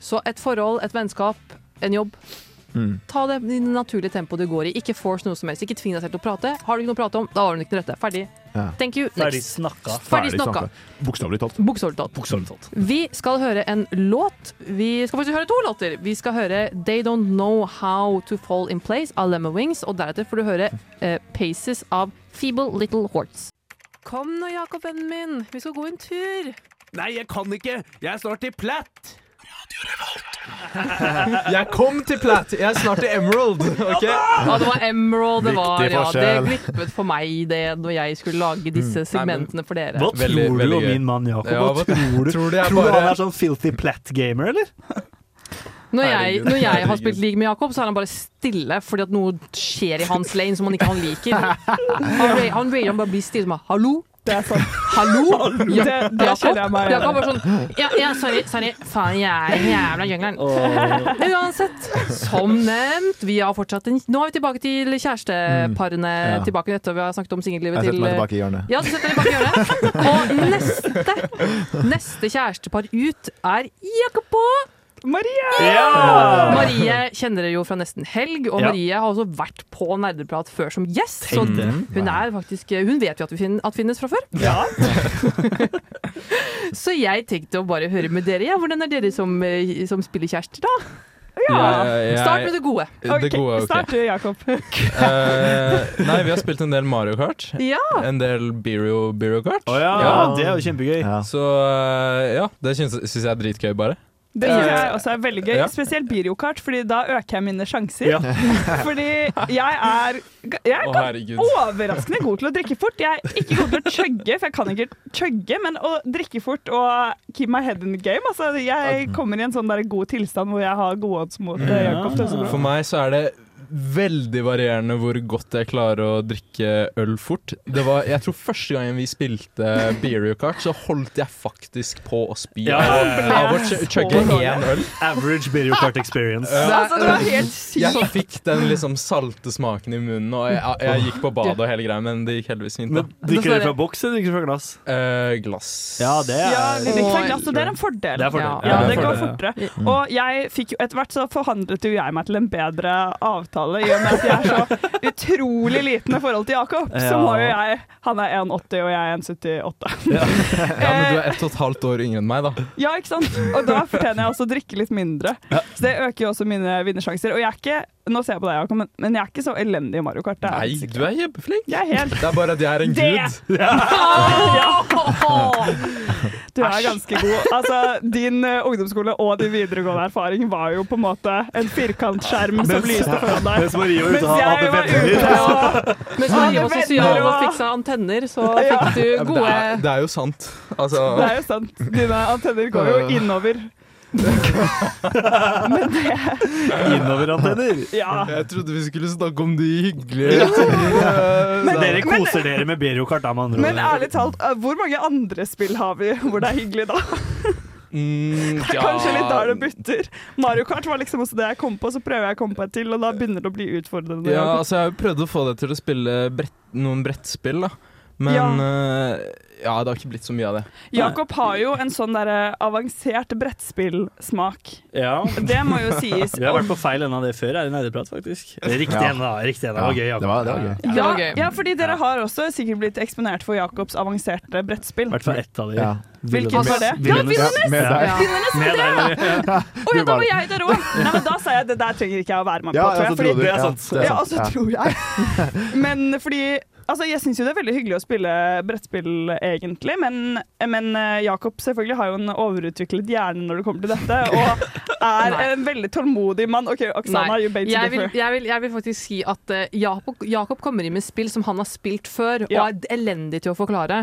S2: Så et forhold, et vennskap, en jobb.
S13: Mm.
S2: Ta det i det naturlige tempoet det går i. Ikke force noe som helst. Ikke tving deg selv til å prate. Har du ikke noe å prate om, da har du ikke noe rette. Ferdig.
S3: Ja.
S2: Thank you.
S4: Ferdig
S2: Next.
S4: snakka.
S2: Ferdig snakka.
S3: Bokstavelig talt.
S2: Bokstavelig talt. Vi skal høre en låt. Vi skal faktisk høre to låter. Vi skal høre They Don't Know How To Fall In Place av Lemma Wings, og deretter får du høre eh, Paces av Feeble Little Horts. Kom nå, Jakob, vennen min. Vi skal gå en tur.
S13: Nei, jeg kan ikke. Jeg er snart i platt.
S10: Jeg kom til Platt! Jeg er snart i Emerald. ok?
S2: Ja, det var Emerald det
S10: Viktig
S2: var. Ja, det
S10: forskjell.
S2: glippet for meg, det, når jeg skulle lage
S3: Mm.
S2: disse segmentene for dere.
S4: Hva
S10: Veldig,
S4: tror du
S10: veldig
S4: om
S10: gøy.
S4: min mann Jakob?
S10: Ja,
S4: Hva
S10: hva-
S4: tror du?
S10: tror du jeg
S4: Tror du
S10: bare-
S4: han er sånn filthy plat-gamer, eller?
S2: Når jeg,
S4: Herregud,
S2: når jeg har
S4: herregud.
S2: spilt league med Jakob, så er han bare stille fordi at noe skjer i hans lane som han ikke han liker. Han rager han, rager, han bare blir stille som bare, Hallo? Det er sant. Hallo? Ja,
S13: Det- det
S2: Jakob?
S13: kjenner jeg meg igjen i.
S2: Jakob bare sånn ja, ja, sorry, sorry. Faen, jeg er den jævla jungelen.
S13: Åh.
S2: Uansett, som nevnt, vi har fortsatt en Nå er vi tilbake til kjæresteparene.
S3: Mm, ja.
S2: Tilbake etter vi har snakket om singellivet
S3: Jeg setter
S2: til
S3: meg tilbake i hjørnet.
S2: Ja, du setter deg bak hjørnet. Og neste, neste kjærestepar ut er Jakob og Marie!
S13: Ja!
S2: Marie kjenner dere jo fra Nesten Helg, og
S13: Ja.
S2: Marie har også vært på Nerdeprat før som gjest. Så
S13: Tenk det.
S2: hun, er faktisk, hun vet jo at, vi fin- at finnes fra før. så jeg tenkte å bare høre med dere. Ja. Hvordan er dere som, eh, som spiller kjærester, da?
S5: Ja, jeg-
S2: Start med det gode.
S5: Det gode, ok.
S14: Start du, Jakob.
S5: Eh, nei, vi har spilt en del Mario Kart.
S2: Ja.
S5: En del Biro Biro Kart.
S4: ja, det er jo kjempegøy.
S5: Så eh, ja, det syns syns jeg er dritgøy, bare.
S14: Det
S5: Eh,
S14: synes jeg også er veldig gøy,
S5: Ja.
S14: spesielt biokart, fordi da øker jeg mine sjanser.
S5: Ja.
S14: fordi jeg er, jeg er
S5: Å,
S14: gan-
S5: herregud.
S14: overraskende god til å drikke fort. Jeg er ikke god til å chugge, for jeg kan ikke chugge, men å drikke fort og keep my head in the game altså, Jeg kommer i en sånn der god tilstand hvor jeg har godhåndsmot. eh, Jakob, det er så bra.
S5: For meg så er det veldig varierende hvor godt jeg klarer å drikke øl fort. Det var, jeg tror første gangen vi spilte Beerio Kart, så holdt jeg faktisk på å spy
S4: Ja, ja, ja, ja.
S5: av å ch- chugge
S4: Så
S5: én øl.
S4: Average Beerio Kart experience.
S5: Ja.
S4: Altså, det var helt
S5: Jeg
S4: sykt.
S5: fikk den liksom salte smaken i munnen, og jeg, jeg gikk på badet og hele greia, men det gikk heldigvis fint. da. Eh,
S4: Drikker dere fra boks eller drikker dere fra glass?
S5: glass.
S4: Ja, det er
S14: Ja, vi
S5: sånn
S14: drikker fra glass, og det er en fordel.
S4: Det er fordel.
S14: Ja,
S4: Ja, det
S14: det
S4: er
S14: går
S4: fordel,
S14: fortere.
S4: ja. Mm.
S14: Og jeg fikk jo, etter hvert så forhandlet jo jeg meg til en bedre avtale, i og med at jeg er så utrolig liten i forhold til Jakob. Så
S5: Ja.
S14: må jo jeg Han er 1,80, og jeg er 1,78.
S5: Ja, men du er ett og et halvt år yngre enn meg, da.
S14: Ja, ikke sant? Og da fortjener jeg også å drikke litt mindre. Så det øker jo også mine vinnersjanser. Og jeg er ikke nå ser jeg på deg, Jakob, men- men jeg er ikke så elendig i Mario Kart. Det er jeg
S5: Nei,
S14: sikkert.
S5: du er kjempeflink.
S14: Jeg er helt
S5: Det er bare at jeg er en
S14: Det-
S5: gud.
S14: Du er ganske god. Altså, din eh, ungdomsskole og din videregående erfaring var jo på en måte en firkantskjerm som
S4: Mens-
S14: lyste foran deg.
S4: mens Marie var ute og
S14: Mens jeg
S4: hadde
S14: var
S4: venner.
S14: ute og-
S2: Mens Marie var
S14: Alle
S2: sosial
S14: venner
S2: og
S14: og-
S2: fiksa antenner, så
S14: Ja.
S2: fikk
S5: Ja,
S2: du
S5: men
S2: gode
S5: Det er, det er jo sant. Altså,
S14: Det er jo sant. Dine Eh, antenner går jo innover.
S4: Innoverantenner.
S14: Ja.
S5: Jeg trodde vi skulle snakke om de hyggelige tingene.
S4: Men dere koser dere med Beerio Kart, da, med
S14: Men
S4: andre ord.
S14: ærlig talt, eh, hvor mange andre spill har vi hvor det er hyggelig da?
S5: Mm,
S14: Det er
S5: ja.
S14: kanskje litt der det butter. Mario Kart var liksom også det jeg kom på, så prøver jeg å komme på et til, og da begynner det å bli utfordrende.
S5: Ja, altså jeg har jo prøvd å få deg til å spille brett, noen brettspill, da. Men ja.
S14: Ja.
S5: ja, det har ikke blitt så mye av det.
S14: Jakob har jo en sånn der eh, avansert brettspillsmak.
S4: Ja.
S14: Det må jo sies.
S4: Vi har vært på feil ende av det før her i Nerdeprat, faktisk. Riktig
S3: Ja.
S4: ende, da. Riktig ende. Det var
S3: Ja,
S4: gøy. Jakob.
S3: det var- det var gøy.
S4: Ja.
S14: Ja, ja, fordi dere har også sikkert blitt eksponert for Jacobs avanserte brettspill.
S4: I hvert fall ett av de.
S3: Ja.
S14: Hvilket var det?
S4: Villennes.
S14: Ja, Villennes!
S4: Ja, med deg.
S14: Ja. Villennes var
S4: Med
S14: det!
S4: deg, Marie.
S14: Ja. Å ja,
S4: Du var
S14: da var
S4: det.
S14: jeg der òg! Nei, men da sa jeg det der trenger ikke jeg å være med på,
S4: Ja, ja,
S14: tror jeg.
S4: så dro du.
S14: det
S4: Ja,
S14: er sant.
S4: det er
S14: Ja,
S4: sant.
S14: og så
S4: Ja.
S14: tror jeg. Men fordi Altså, jeg syns jo det er veldig hyggelig å spille brettspill, egentlig, men, men eh, Jakob selvfølgelig har jo en overutviklet hjerne når det kommer til dette, og er
S2: Nei.
S14: en veldig tålmodig mann. OK, Oksana,
S2: Nei,
S14: you bait to
S2: jeg vil,
S14: differ.
S2: jeg, vil, jeg vil faktisk si at eh, Jakob, Jakob kommer inn med spill som han har spilt før,
S14: Ja.
S2: og er elendig til å forklare.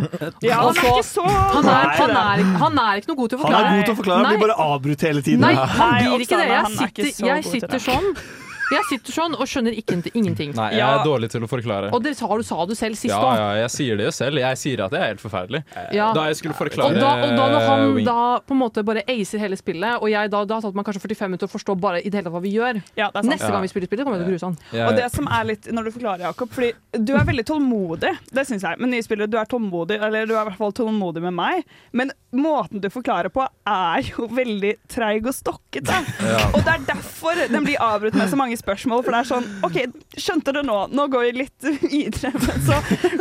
S14: Ja, han
S2: Og
S14: er ikke så
S2: han er, han,
S14: Nei.
S2: er, han er ikke noe god til å
S4: Han
S2: forklare.
S4: er god til å forklare, han
S2: Nei.
S4: blir bare avbrutt hele tiden.
S2: Nei, han
S14: Nei,
S2: blir ikke det.
S14: Oksana,
S2: Jeg
S14: han er ikke
S2: sitter,
S14: så
S2: jeg
S14: god til
S2: sitter
S14: det.
S2: sånn Jeg sitter sånn og skjønner ikke, ingenting.
S5: Nei, jeg er dårlig til å forklare.
S2: Og det sa du, sa du selv sist
S5: Ja,
S2: òg.
S5: ja, jeg sier det jo selv. Jeg sier at jeg er helt forferdelig.
S2: Ja.
S5: Da jeg skulle
S2: Og
S5: forklare
S2: da, og da når han
S5: Wing.
S2: da på en måte bare acer hele spillet, og jeg da, da tatt meg kanskje 45 minutter å forstå bare i det hele tatt hva vi gjør.
S14: Ja, det er sant.
S2: Neste gang vi spiller spillet, kommer jeg til å sånn. gruse han.
S5: Ja.
S14: Og det som er litt, når du forklarer, Jakob Fordi du er veldig tålmodig, det syns jeg. Med nye spillere, du er tålmodig, eller du er i hvert fall tålmodig med meg. Men måten du forklarer på, er jo veldig treig og stokkete.
S13: Ja.
S14: Og det er derfor den blir avbrutt med så mange spørsmål. For det er sånn OK, skjønte du nå? Nå går vi litt videre. Men så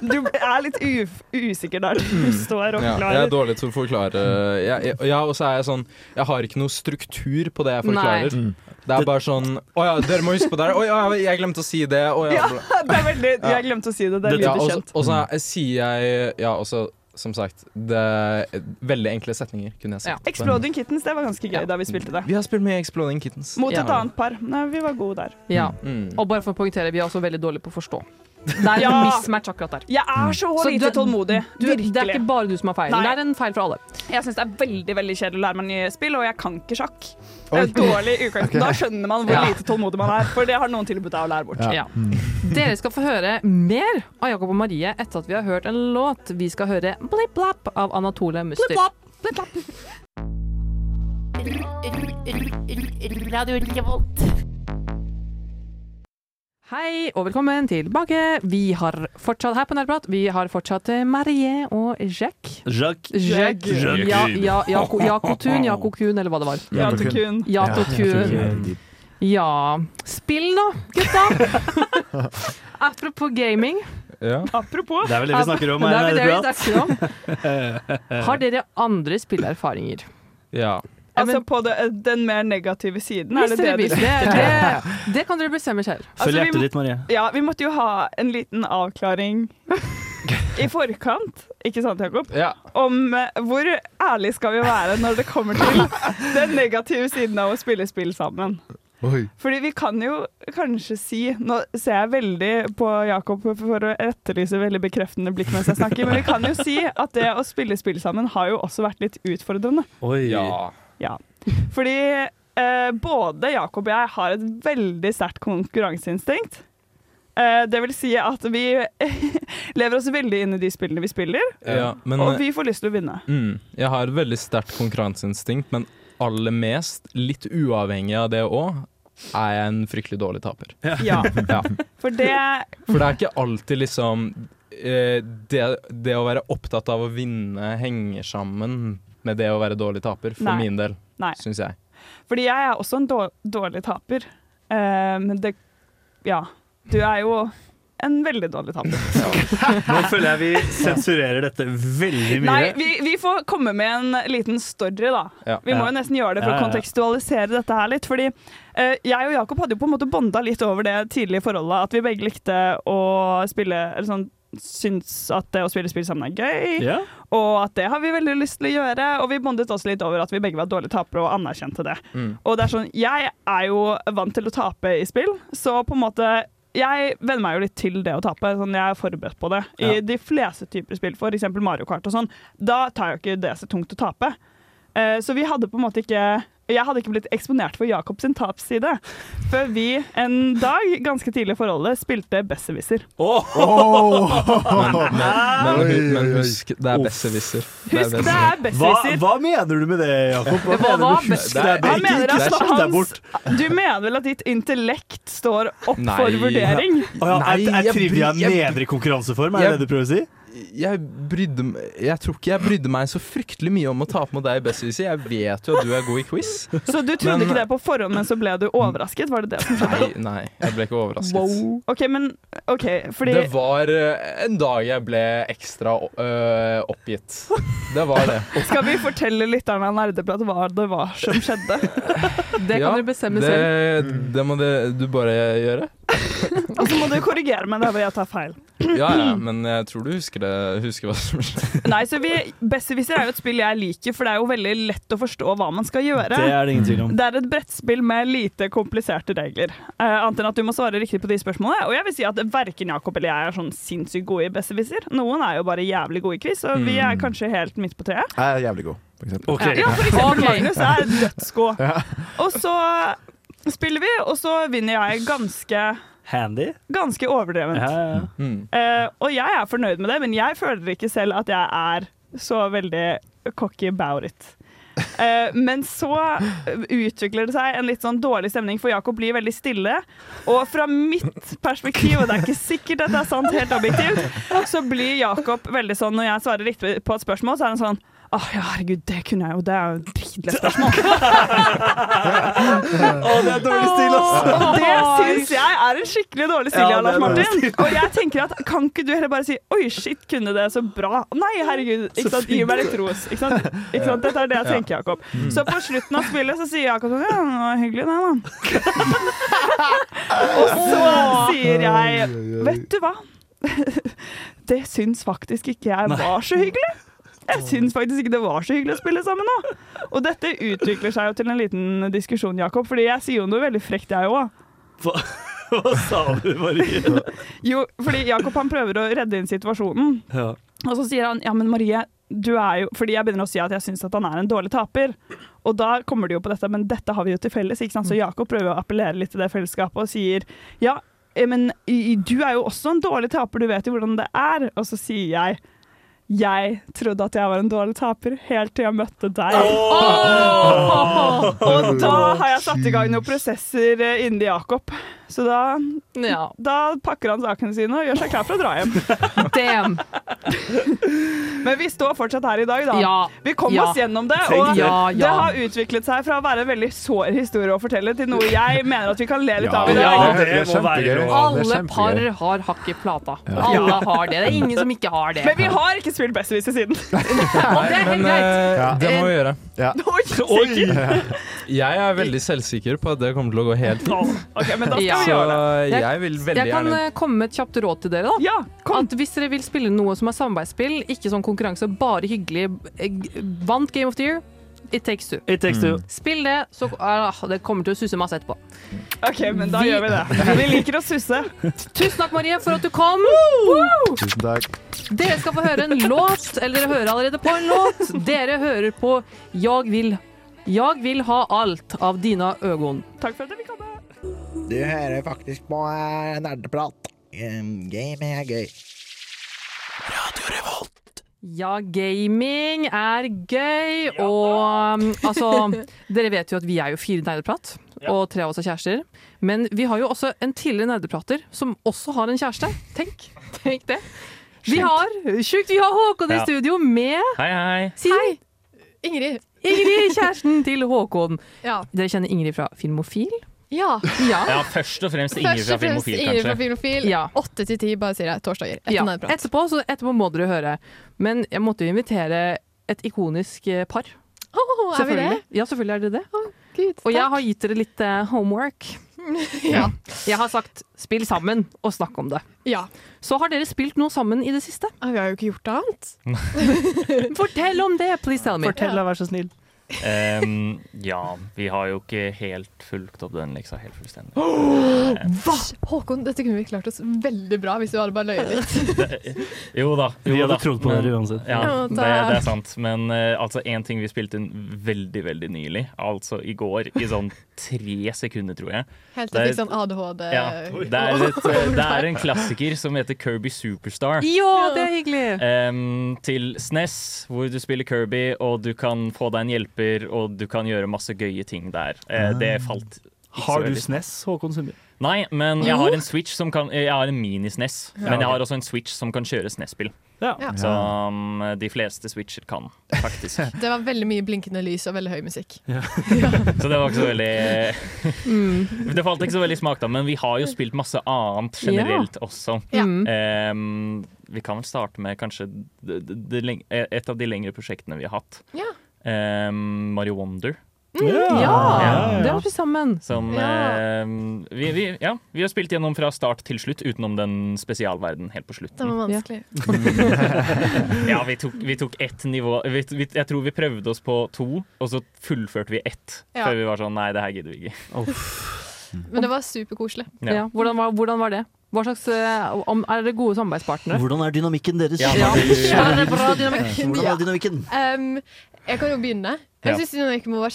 S14: du er litt uf usikker der du står og
S5: Mm. Ja, jeg er
S14: forklarer.
S5: dårlig til å forklare jeg, jeg, Ja, og så er jeg sånn Jeg har ikke noe struktur på det jeg
S14: Nei.
S5: forklarer.
S14: Mm.
S5: Det er bare sånn Å ja, dere må huske på det her. Å ja, jeg glemte å si det. Å ja,
S14: Ja,
S5: bla-
S14: det er veldig Jeg glemte å si det. Det er lite
S5: ja, og så-
S14: kjent.
S5: Og så er- sier jeg Ja, også, som sagt det, Veldig enkle setninger, kunne jeg
S14: Ja.
S5: sagt.
S14: Exploding Kittens, det var ganske gøy da vi spilte det.
S5: Vi har spilt med Exploding Kittens.
S14: Mot
S5: Ja.
S14: et annet par. Nei, vi var gode der.
S2: Ja.
S5: Mm.
S2: Og bare for å poengtere, vi er også veldig dårlige på å forstå. Det er en
S14: Ja.
S2: mismatch akkurat der. Mm.
S14: Jeg er så lite
S2: du-
S14: tålmodig.
S2: Du, det er ikke
S14: Virkelig.
S2: bare du som har feil.
S14: Nei.
S2: Det er en feil for alle.
S14: Jeg syns det er veldig veldig kjedelig å lære meg nye spill, og jeg kan ikke sjakk. Det er et dårlig utgangspunkt.
S2: Ok.
S14: Da skjønner man hvor
S2: Ja.
S14: lite tålmodig man er, for det har noen tilbudt deg å lære bort.
S2: Ja. Dere skal få høre mer av Jakob og Marie etter at vi har hørt en låt. Vi skal høre Blipp Blapp av Anatole Muster.
S13: Blipp Blapp,
S15: Radio Revolt.
S2: Hei og velkommen tilbake. Vi har fortsatt her på Nærprat. Vi har fortsatt eh, Marie og Jack.
S4: Jacques.
S2: Jack.
S4: Jacques.
S2: Ja, ja, Jako- Jakotun, Jakokun, eller hva det var.
S14: Jatokun.
S2: Jatokun. Ja Spill nå, gutta! Apropos gaming.
S14: Apropos.
S4: Det er vel det vi snakker om eh, her.
S2: Det er vel det vi snakker om.
S4: om.
S2: Har dere andre spillerfaringer?
S5: Ja.
S14: Altså på det, den mer negative siden, er
S2: Hvis
S14: det
S2: dere
S14: det
S2: vil.
S14: du
S2: Det, det, det kan dere bestemme selv.
S14: Altså,
S4: Følg
S14: vi må-
S4: hjertet ditt, Marie.
S14: Ja, vi måtte jo ha en liten avklaring i forkant, ikke sant Jakob?
S5: Ja.
S14: Om eh, hvor ærlig skal vi være når det kommer til den negative siden av å spille spill sammen.
S3: Oi.
S14: Fordi vi kan jo kanskje si Nå ser jeg veldig på Jakob for å etterlyse veldig bekreftende blikk mens jeg snakker, men vi kan jo si at det å spille spill sammen har jo også vært litt utfordrende.
S4: Oi.
S5: Ja.
S14: Ja. Fordi eh, både Jakob og jeg har et veldig sterkt konkurranseinstinkt. Eh, det vil si at vi lever oss veldig inn i de spillene vi spiller,
S5: Ja, men- eh,
S14: og vi får lyst til å vinne.
S5: Mm. Jeg har et veldig sterkt konkurranseinstinkt, men aller mest, litt uavhengig av det òg, er jeg en fryktelig dårlig taper.
S14: Ja.
S5: Ja.
S14: For det
S5: For det er ikke alltid liksom eh, det, det å være opptatt av å vinne henger sammen med det å være dårlig taper, for
S14: Nei.
S5: min del,
S14: Nei.
S5: syns jeg.
S14: Fordi jeg er også en dår- dårlig taper. Eh, men det Ja. Du er jo en veldig dårlig taper.
S4: Nå føler jeg vi sensurerer dette veldig mye.
S14: Nei, vi, vi får komme med en liten story, da.
S4: Ja.
S14: Vi
S4: Ja.
S14: må jo nesten gjøre det for
S4: Ja, ja, ja.
S14: å kontekstualisere dette her litt. Fordi eh, jeg og Jakob hadde jo på en måte bonda litt over det tidlige forholdet, at vi begge likte å spille eller sånn, Syns at det å spille spill sammen er gøy,
S13: Ja.
S14: og at det har vi veldig lyst til å gjøre. Og vi bondet også litt over at vi begge var dårlige tapere og anerkjente det.
S13: Mm.
S14: Og det er sånn, jeg er jo vant til å tape i spill, så på en måte jeg venner meg jo litt til det å tape. Sånn, jeg er forberedt på det. I
S13: Ja.
S14: de fleste typer spill, f.eks. Mario Kart og sånn, da tar jo ikke det så tungt å tape. Eh, så vi hadde på en måte ikke Jeg hadde ikke blitt eksponert for Jakob sin tapsside før vi en dag, ganske tidlig i forholdet, spilte Besserwisser.
S5: Men, men, men, men husk, det er besserwisser.
S14: Husk, det er besserwisser.
S4: Hva, hva mener du med det, Jakob?
S14: Hva, hva,
S4: mener du? Husk, det er
S14: hva
S4: ikke-
S14: mener
S4: ikke
S14: altså
S4: snakk deg bort.
S14: hans Du mener vel at ditt intellekt står opp for vurdering?
S4: Å ja, er,
S5: Nei,
S4: er
S5: jeg
S4: trivia
S5: bry- jeg-
S4: nedre i konkurranseform, er det
S5: Jeg-
S4: det du prøver å si?
S5: Jeg, brydde, m- jeg tror ikke jeg brydde meg så fryktelig mye om å tape mot deg i besserwisser. Jeg vet jo at du er god i quiz.
S14: Så du trodde
S5: Men-
S14: ikke det på forhånd, men så ble du overrasket? Var det det som skjedde?
S5: Nei, nei, jeg ble ikke overrasket.
S14: OK, men OK, fordi
S5: Det var eh, en dag jeg ble ekstra eh, oppgitt. Det var det.
S14: Skal vi fortelle lytterne av Nerdeprat hva det var som skjedde? Det
S5: Ja, det, Det må det, du bare gjøre.
S14: Og så må du korrigere meg der hvor jeg tar feil.
S5: Ja, ja, men jeg tror du husker, det, husker hva som skjedde.
S14: Nei, så vi, Besserwisser er jo et spill jeg liker, for det er jo veldig lett å forstå hva man skal gjøre.
S4: Det er det ingen tvil om.
S14: Det er et brettspill med lite kompliserte regler. Eh, annet enn at du må svare riktig på de spørsmålene. Og jeg vil si at verken Jakob eller jeg er sånn sinnssykt gode i Besserwisser. Noen er jo bare jævlig gode i quiz, og vi er kanskje helt midt på treet.
S3: Jeg er jævlig god, for eksempel.
S14: Ja, for eksempel Magnus er dødsgod. Og så spiller vi, og så vinner jeg ganske
S4: Handy?
S14: Ganske overdrevent.
S4: Mm.
S14: Eh, og jeg er fornøyd med det, men jeg føler ikke selv at jeg er så veldig cocky about it. Eh, men så utvikler det seg en litt sånn dårlig stemning, for Jakob blir veldig stille. Og fra mitt perspektiv, og det er ikke sikkert at det er sant helt objektivt, så blir Jakob veldig sånn når jeg svarer riktig på et spørsmål, så er han sånn Åh, ja, herregud, det kunne jeg jo. Det er jo et dritlett spørsmål.
S13: Å, det er dårlig stil,
S14: Og
S13: altså!
S14: det syns jeg er en skikkelig dårlig stil,
S13: Ja,
S14: ja,
S13: det
S14: Lars
S13: er dårlig
S14: Martin. Og jeg tenker at kan ikke du heller bare si 'oi, shit, kunne det så bra'? Nei, herregud. Ikke sant? Gi meg litt ros. Ikke sant? Ikke sant? Dette er det jeg
S13: Ja. Mm.
S14: tenker, Jakob. Så på slutten av spillet så sier Jakob sånn 'ja, det var hyggelig, det, da'. Og så sier jeg 'vet du hva', det syns faktisk ikke jeg var så hyggelig. Jeg syns faktisk ikke det var så hyggelig å spille sammen nå. Og dette utvikler seg jo til en liten diskusjon, Jakob, fordi jeg sier jo noe veldig frekt, jeg òg.
S4: Hva, hva sa du, Marie?
S14: Jo, fordi Jakob han prøver å redde inn situasjonen.
S4: Ja.
S14: Og så sier han ja, men Marie, du er jo Fordi jeg begynner å si at jeg syns at han er en dårlig taper. Og da kommer de jo på dette, men dette har vi jo til felles. Ikke sant? Så Jakob prøver å appellere litt til det fellesskapet og sier ja, eh, men i- i- du er jo også en dårlig taper, du vet jo hvordan det er. Og så sier jeg jeg trodde at jeg var en dårlig taper helt til jeg møtte deg. Og da har jeg satt i gang noen prosesser eh, inni Jakob. Så da, da pakker han sakene sine og gjør seg klar for å dra hjem.
S2: Damn.
S14: Men vi står fortsatt her i dag, da.
S2: Ja.
S14: Vi kom
S2: Ja.
S14: oss gjennom det,
S2: Tenk
S14: og
S2: det. Ja,
S14: det
S2: ja.
S14: har utviklet seg fra å være en veldig sår historie å fortelle, til noe jeg mener at vi kan le litt av i dag.
S2: Ja,
S3: det er
S4: det må være
S3: kjempegøy.
S4: lov.
S3: Det er
S2: Alle
S3: kjempegøy.
S2: par har hakk i plata. Alle har det. Det er ingen som ikke har det.
S14: Men vi har ikke spilt Besserwisser siden.
S2: Og det er helt
S5: Men
S2: greit.
S5: eh, det må vi gjøre.
S14: Oi, sikkert.
S5: Jeg er veldig selvsikker på at det kommer til å gå helt fint.
S14: Ok, men da skal
S2: Ja.
S14: vi gjøre det.
S5: Så jeg vil veldig
S2: jeg kan
S5: gjerne
S2: eh, komme med et kjapt råd til dere. da At Hvis dere vil spille noe som er samarbeidsspill, ikke sånn konkurranse, bare hyggelig eh, g- Vant Game of the Year. It takes two.
S4: It takes
S5: Mm.
S4: two.
S2: Spill det, så ah, det kommer til å susse masse etterpå.
S14: OK, men da gjør vi det. Vi liker å susse.
S2: Tusen takk, Marie, for at du kom.
S3: Tusen takk.
S2: Dere skal få høre en låt, eller dere hører allerede på en låt. Dere hører på Jeg vil Jeg vil ha alt av dine øgon.
S16: Takk for at jeg fikk komme.
S14: Du hører faktisk på eh, nerdeprat. Ehm, Game er gøy.
S2: Ja, gaming er gøy, og um, altså Dere vet jo at vi er jo fire nerdeprat, og tre av oss er kjærester. Men vi har jo også en tidligere nerdeprater som også har en kjæreste. Tenk, tenk det. Vi har, sjukt, vi har Håkon i
S1: Ja.
S2: studio med
S1: Hei, hei.
S2: Siri.
S8: Ingrid.
S2: Ingrid, kjæresten til Håkon.
S8: Ja.
S2: Dere kjenner Ingrid fra Filmofil?
S8: Ja.
S1: Ja, først og fremst Ingrid
S8: Først
S1: fra
S8: og fremst
S1: Filmofil,
S8: Ingrid fra
S1: kanskje.
S8: Filmofil. Åtte til ti, bare sier jeg. Torsdager. Etter
S2: Ja,
S8: nærprat.
S2: etterpå, så etterpå må dere høre. Men jeg måtte jo invitere et ikonisk eh, par.
S8: Åh, er vi det?
S2: Selvfølgelig. Ja, selvfølgelig er dere det.
S8: Gud,
S2: Og jeg
S8: takk.
S2: har gitt dere litt eh, homework.
S8: Ja.
S2: Jeg har sagt 'spill sammen og snakk om det'. Så har dere spilt noe sammen i det siste?
S8: Vi har jo ikke gjort annet.
S2: Fortell om det, please tell me.
S4: Fortell, da, vær så snill.
S1: Ehm, ja, vi har jo ikke helt fulgt opp den leksa helt fullstendig.
S8: Hva? Håkon, dette kunne vi klart oss veldig bra hvis du hadde bare løyet litt.
S1: Jo da.
S4: Vi
S1: jo
S4: hadde
S1: da.
S4: trodd på dere
S1: Men-
S4: uansett.
S1: Ja,
S8: Ja,
S1: det,
S8: da-
S1: det er sant. Men eh, altså, én ting vi spilte inn veldig, veldig nylig, altså i går, i sånn tre sekunder, tror jeg.
S8: Helt til
S1: Det
S8: jeg
S1: er-
S8: fikk sånn ADHD.
S2: eh,
S1: Ja, det er, et, eh, det er en klassiker som heter Kirby Superstar.
S2: Jo, det er hyggelig!
S1: Ehm, til SNES, hvor du spiller Kirby, og du kan få deg en hjelper, og du kan gjøre masse gøye ting der. Eh, det falt ikke så
S4: Ah. Har du E
S1: veldig.
S4: SNES, Håkon Sundby?
S1: Nei, men jeg
S4: Jo.
S1: har en Switch som kan Jeg har en mini-SNES,
S4: Ja,
S1: E men jeg
S4: ok.
S1: har også en Switch som kan kjøre E SNES-spill.
S8: Ja.
S1: Som eh, de fleste Switcher kan, faktisk.
S8: Det var veldig mye blinkende lys og veldig høy musikk.
S1: Så det var ikke så veldig Det falt ikke så veldig i smak, da, men vi har jo spilt masse annet generelt også.
S8: Ja.
S1: Ehm, vi kan vel starte med kanskje det, det, det, leng- e, et av de lengre prosjektene vi har hatt.
S8: Ja.
S1: Ehm, Mario Wonder.
S2: Mm, ja, det har vi spilt sammen.
S1: Som ehm, vi, vi, ja, vi har spilt gjennom fra start til slutt, utenom den spesialverden helt på slutten.
S8: Det var vanskelig.
S1: ja, vi tok, vi tok ett nivå vi, vi, Jeg tror vi prøvde oss på to, og så fullførte vi ett.
S8: Ja.
S1: Før vi var sånn Nei, det her gidder vi ikke.
S8: Men det var superkoselig.
S1: Ja.
S2: Ja. Hvordan, var, hvordan var det? Hva slags, eh, om, er dere gode samarbeidspartnere?
S10: Hvordan er dynamikken deres?
S2: Ja, Ja. det- Ja, det er bra dynamikk.
S10: Hvordan er dynamikken?
S8: Em, jeg kan jo begynne. Jeg
S10: Ja.
S8: syns dynamikken vår var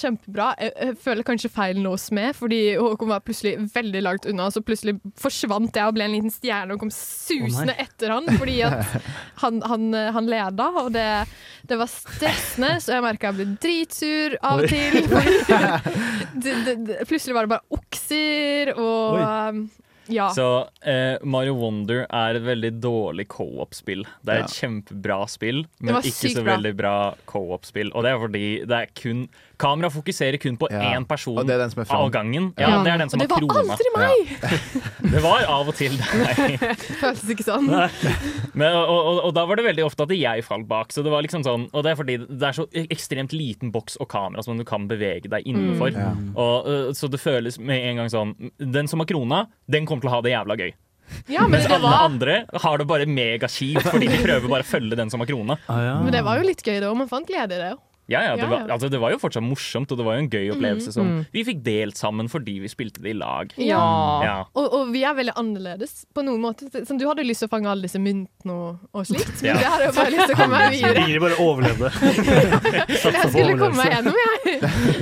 S8: kjempebra. Jeg, jeg føler kanskje feilen lå hos meg, fordi Håkon var plutselig veldig langt unna, så plutselig forsvant jeg og ble en liten stjerne og kom susende
S10: Å, nei.
S8: etter han, fordi at han, han, han leda, og det, det var stressende, så jeg merka jeg ble dritsur av
S10: Oi.
S8: og til. det, det, det, plutselig var det bare okser og
S1: Oi.
S8: em, ja.
S1: Så eh, Mario Wonder er et veldig dårlig co-op-spill. Det er et kjempebra spill, men
S8: var
S1: ikke
S8: sykt
S1: så
S8: bra.
S1: veldig bra co-op-spill. Og det er fordi det er kun Kamera fokuserer kun på
S3: Ja.
S1: én person
S3: Og det er den som er fram.
S1: av gangen. Ja,
S8: Ja.
S1: Det er den som
S8: Og det
S1: har
S8: var
S1: krona.
S8: aldri meg!
S1: Det var av og til deg.
S8: Føltes ikke sånn.
S1: Men, og, og, og da var det veldig ofte at jeg falt bak. Så det var liksom sånn, og det er fordi det er så ekstremt liten boks og kamera som du kan bevege deg
S11: Mm.
S1: innenfor.
S11: Ja.
S1: Og, øh, så det føles med en gang sånn Den som har krona, den kommer til å ha det jævla gøy.
S8: Ja, men
S1: Mens
S8: det
S1: alle
S8: var-
S1: andre har det bare megakjipt fordi de prøver bare å følge den som har krona.
S11: Ah,
S8: Men
S1: Ah.
S8: det var jo litt gøy, da. og Man fant glede i det. jo.
S1: Ja, ja, det,
S8: Ja,
S1: var,
S8: ja.
S1: altså, det var jo fortsatt morsomt, og det var jo en gøy opplevelse
S8: Mm.
S1: som
S8: Mm.
S1: vi fikk delt sammen fordi vi spilte det i lag.
S8: Ja.
S1: Ja.
S8: Og, og vi er veldig annerledes på noen måte. Sånn, du hadde jo lyst til å fange alle disse myntene og, og slikt, men
S1: Ja.
S8: det hadde jeg bare lyst til å komme meg videre.
S4: Ingrid bare overlevde.
S8: For jeg skulle komme meg gjennom, jeg.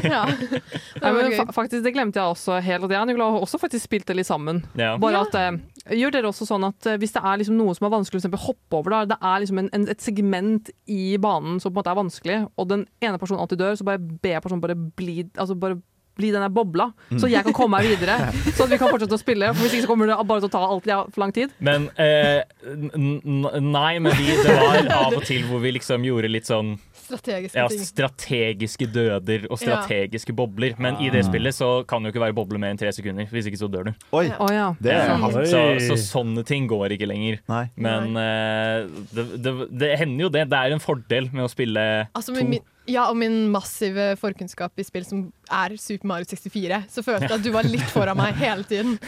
S8: Ja.
S2: Nei,
S8: var
S2: men
S8: gøy.
S2: fa faktisk, det glemte jeg også helt. At jeg og Nicola har også faktisk spilt det litt sammen.
S1: Ja.
S2: Bare
S1: Ja.
S2: at eh, Gjør dere også sånn at eh, hvis det er liksom noe som er vanskelig, for eksempel hoppe over, da, det er liksom en, en, et segment i banen som på en måte er vanskelig, og den ene personen alltid dør, så bare ber personen bare bli altså bare bli den der bobla,
S1: Mm.
S2: så jeg kan komme meg videre. Så at vi kan fortsette å spille. For Hvis ikke så kommer det bare til å ta alt jeg har for lang tid.
S1: Men eh, n- n- Nei, men vi, det var av og til hvor vi liksom gjorde litt sånn
S8: Strategiske
S1: ja,
S8: ting.
S1: strategiske døder og strategiske bobler. Men i det spillet så kan det jo ikke være boble mer enn tre sekunder. Hvis ikke så dør du.
S2: Ah. Oi. Å, ja. Det er
S1: Ja,
S2: hardt.
S1: så, så sånne ting går ikke lenger. Men eh, det, det, det hender jo det. Det er en fordel med å spille
S8: Altså,
S1: to.
S8: med min, ja, og min massive forkunnskap i spill som er Super Mario 64, så følte jeg at du var litt foran meg hele tiden.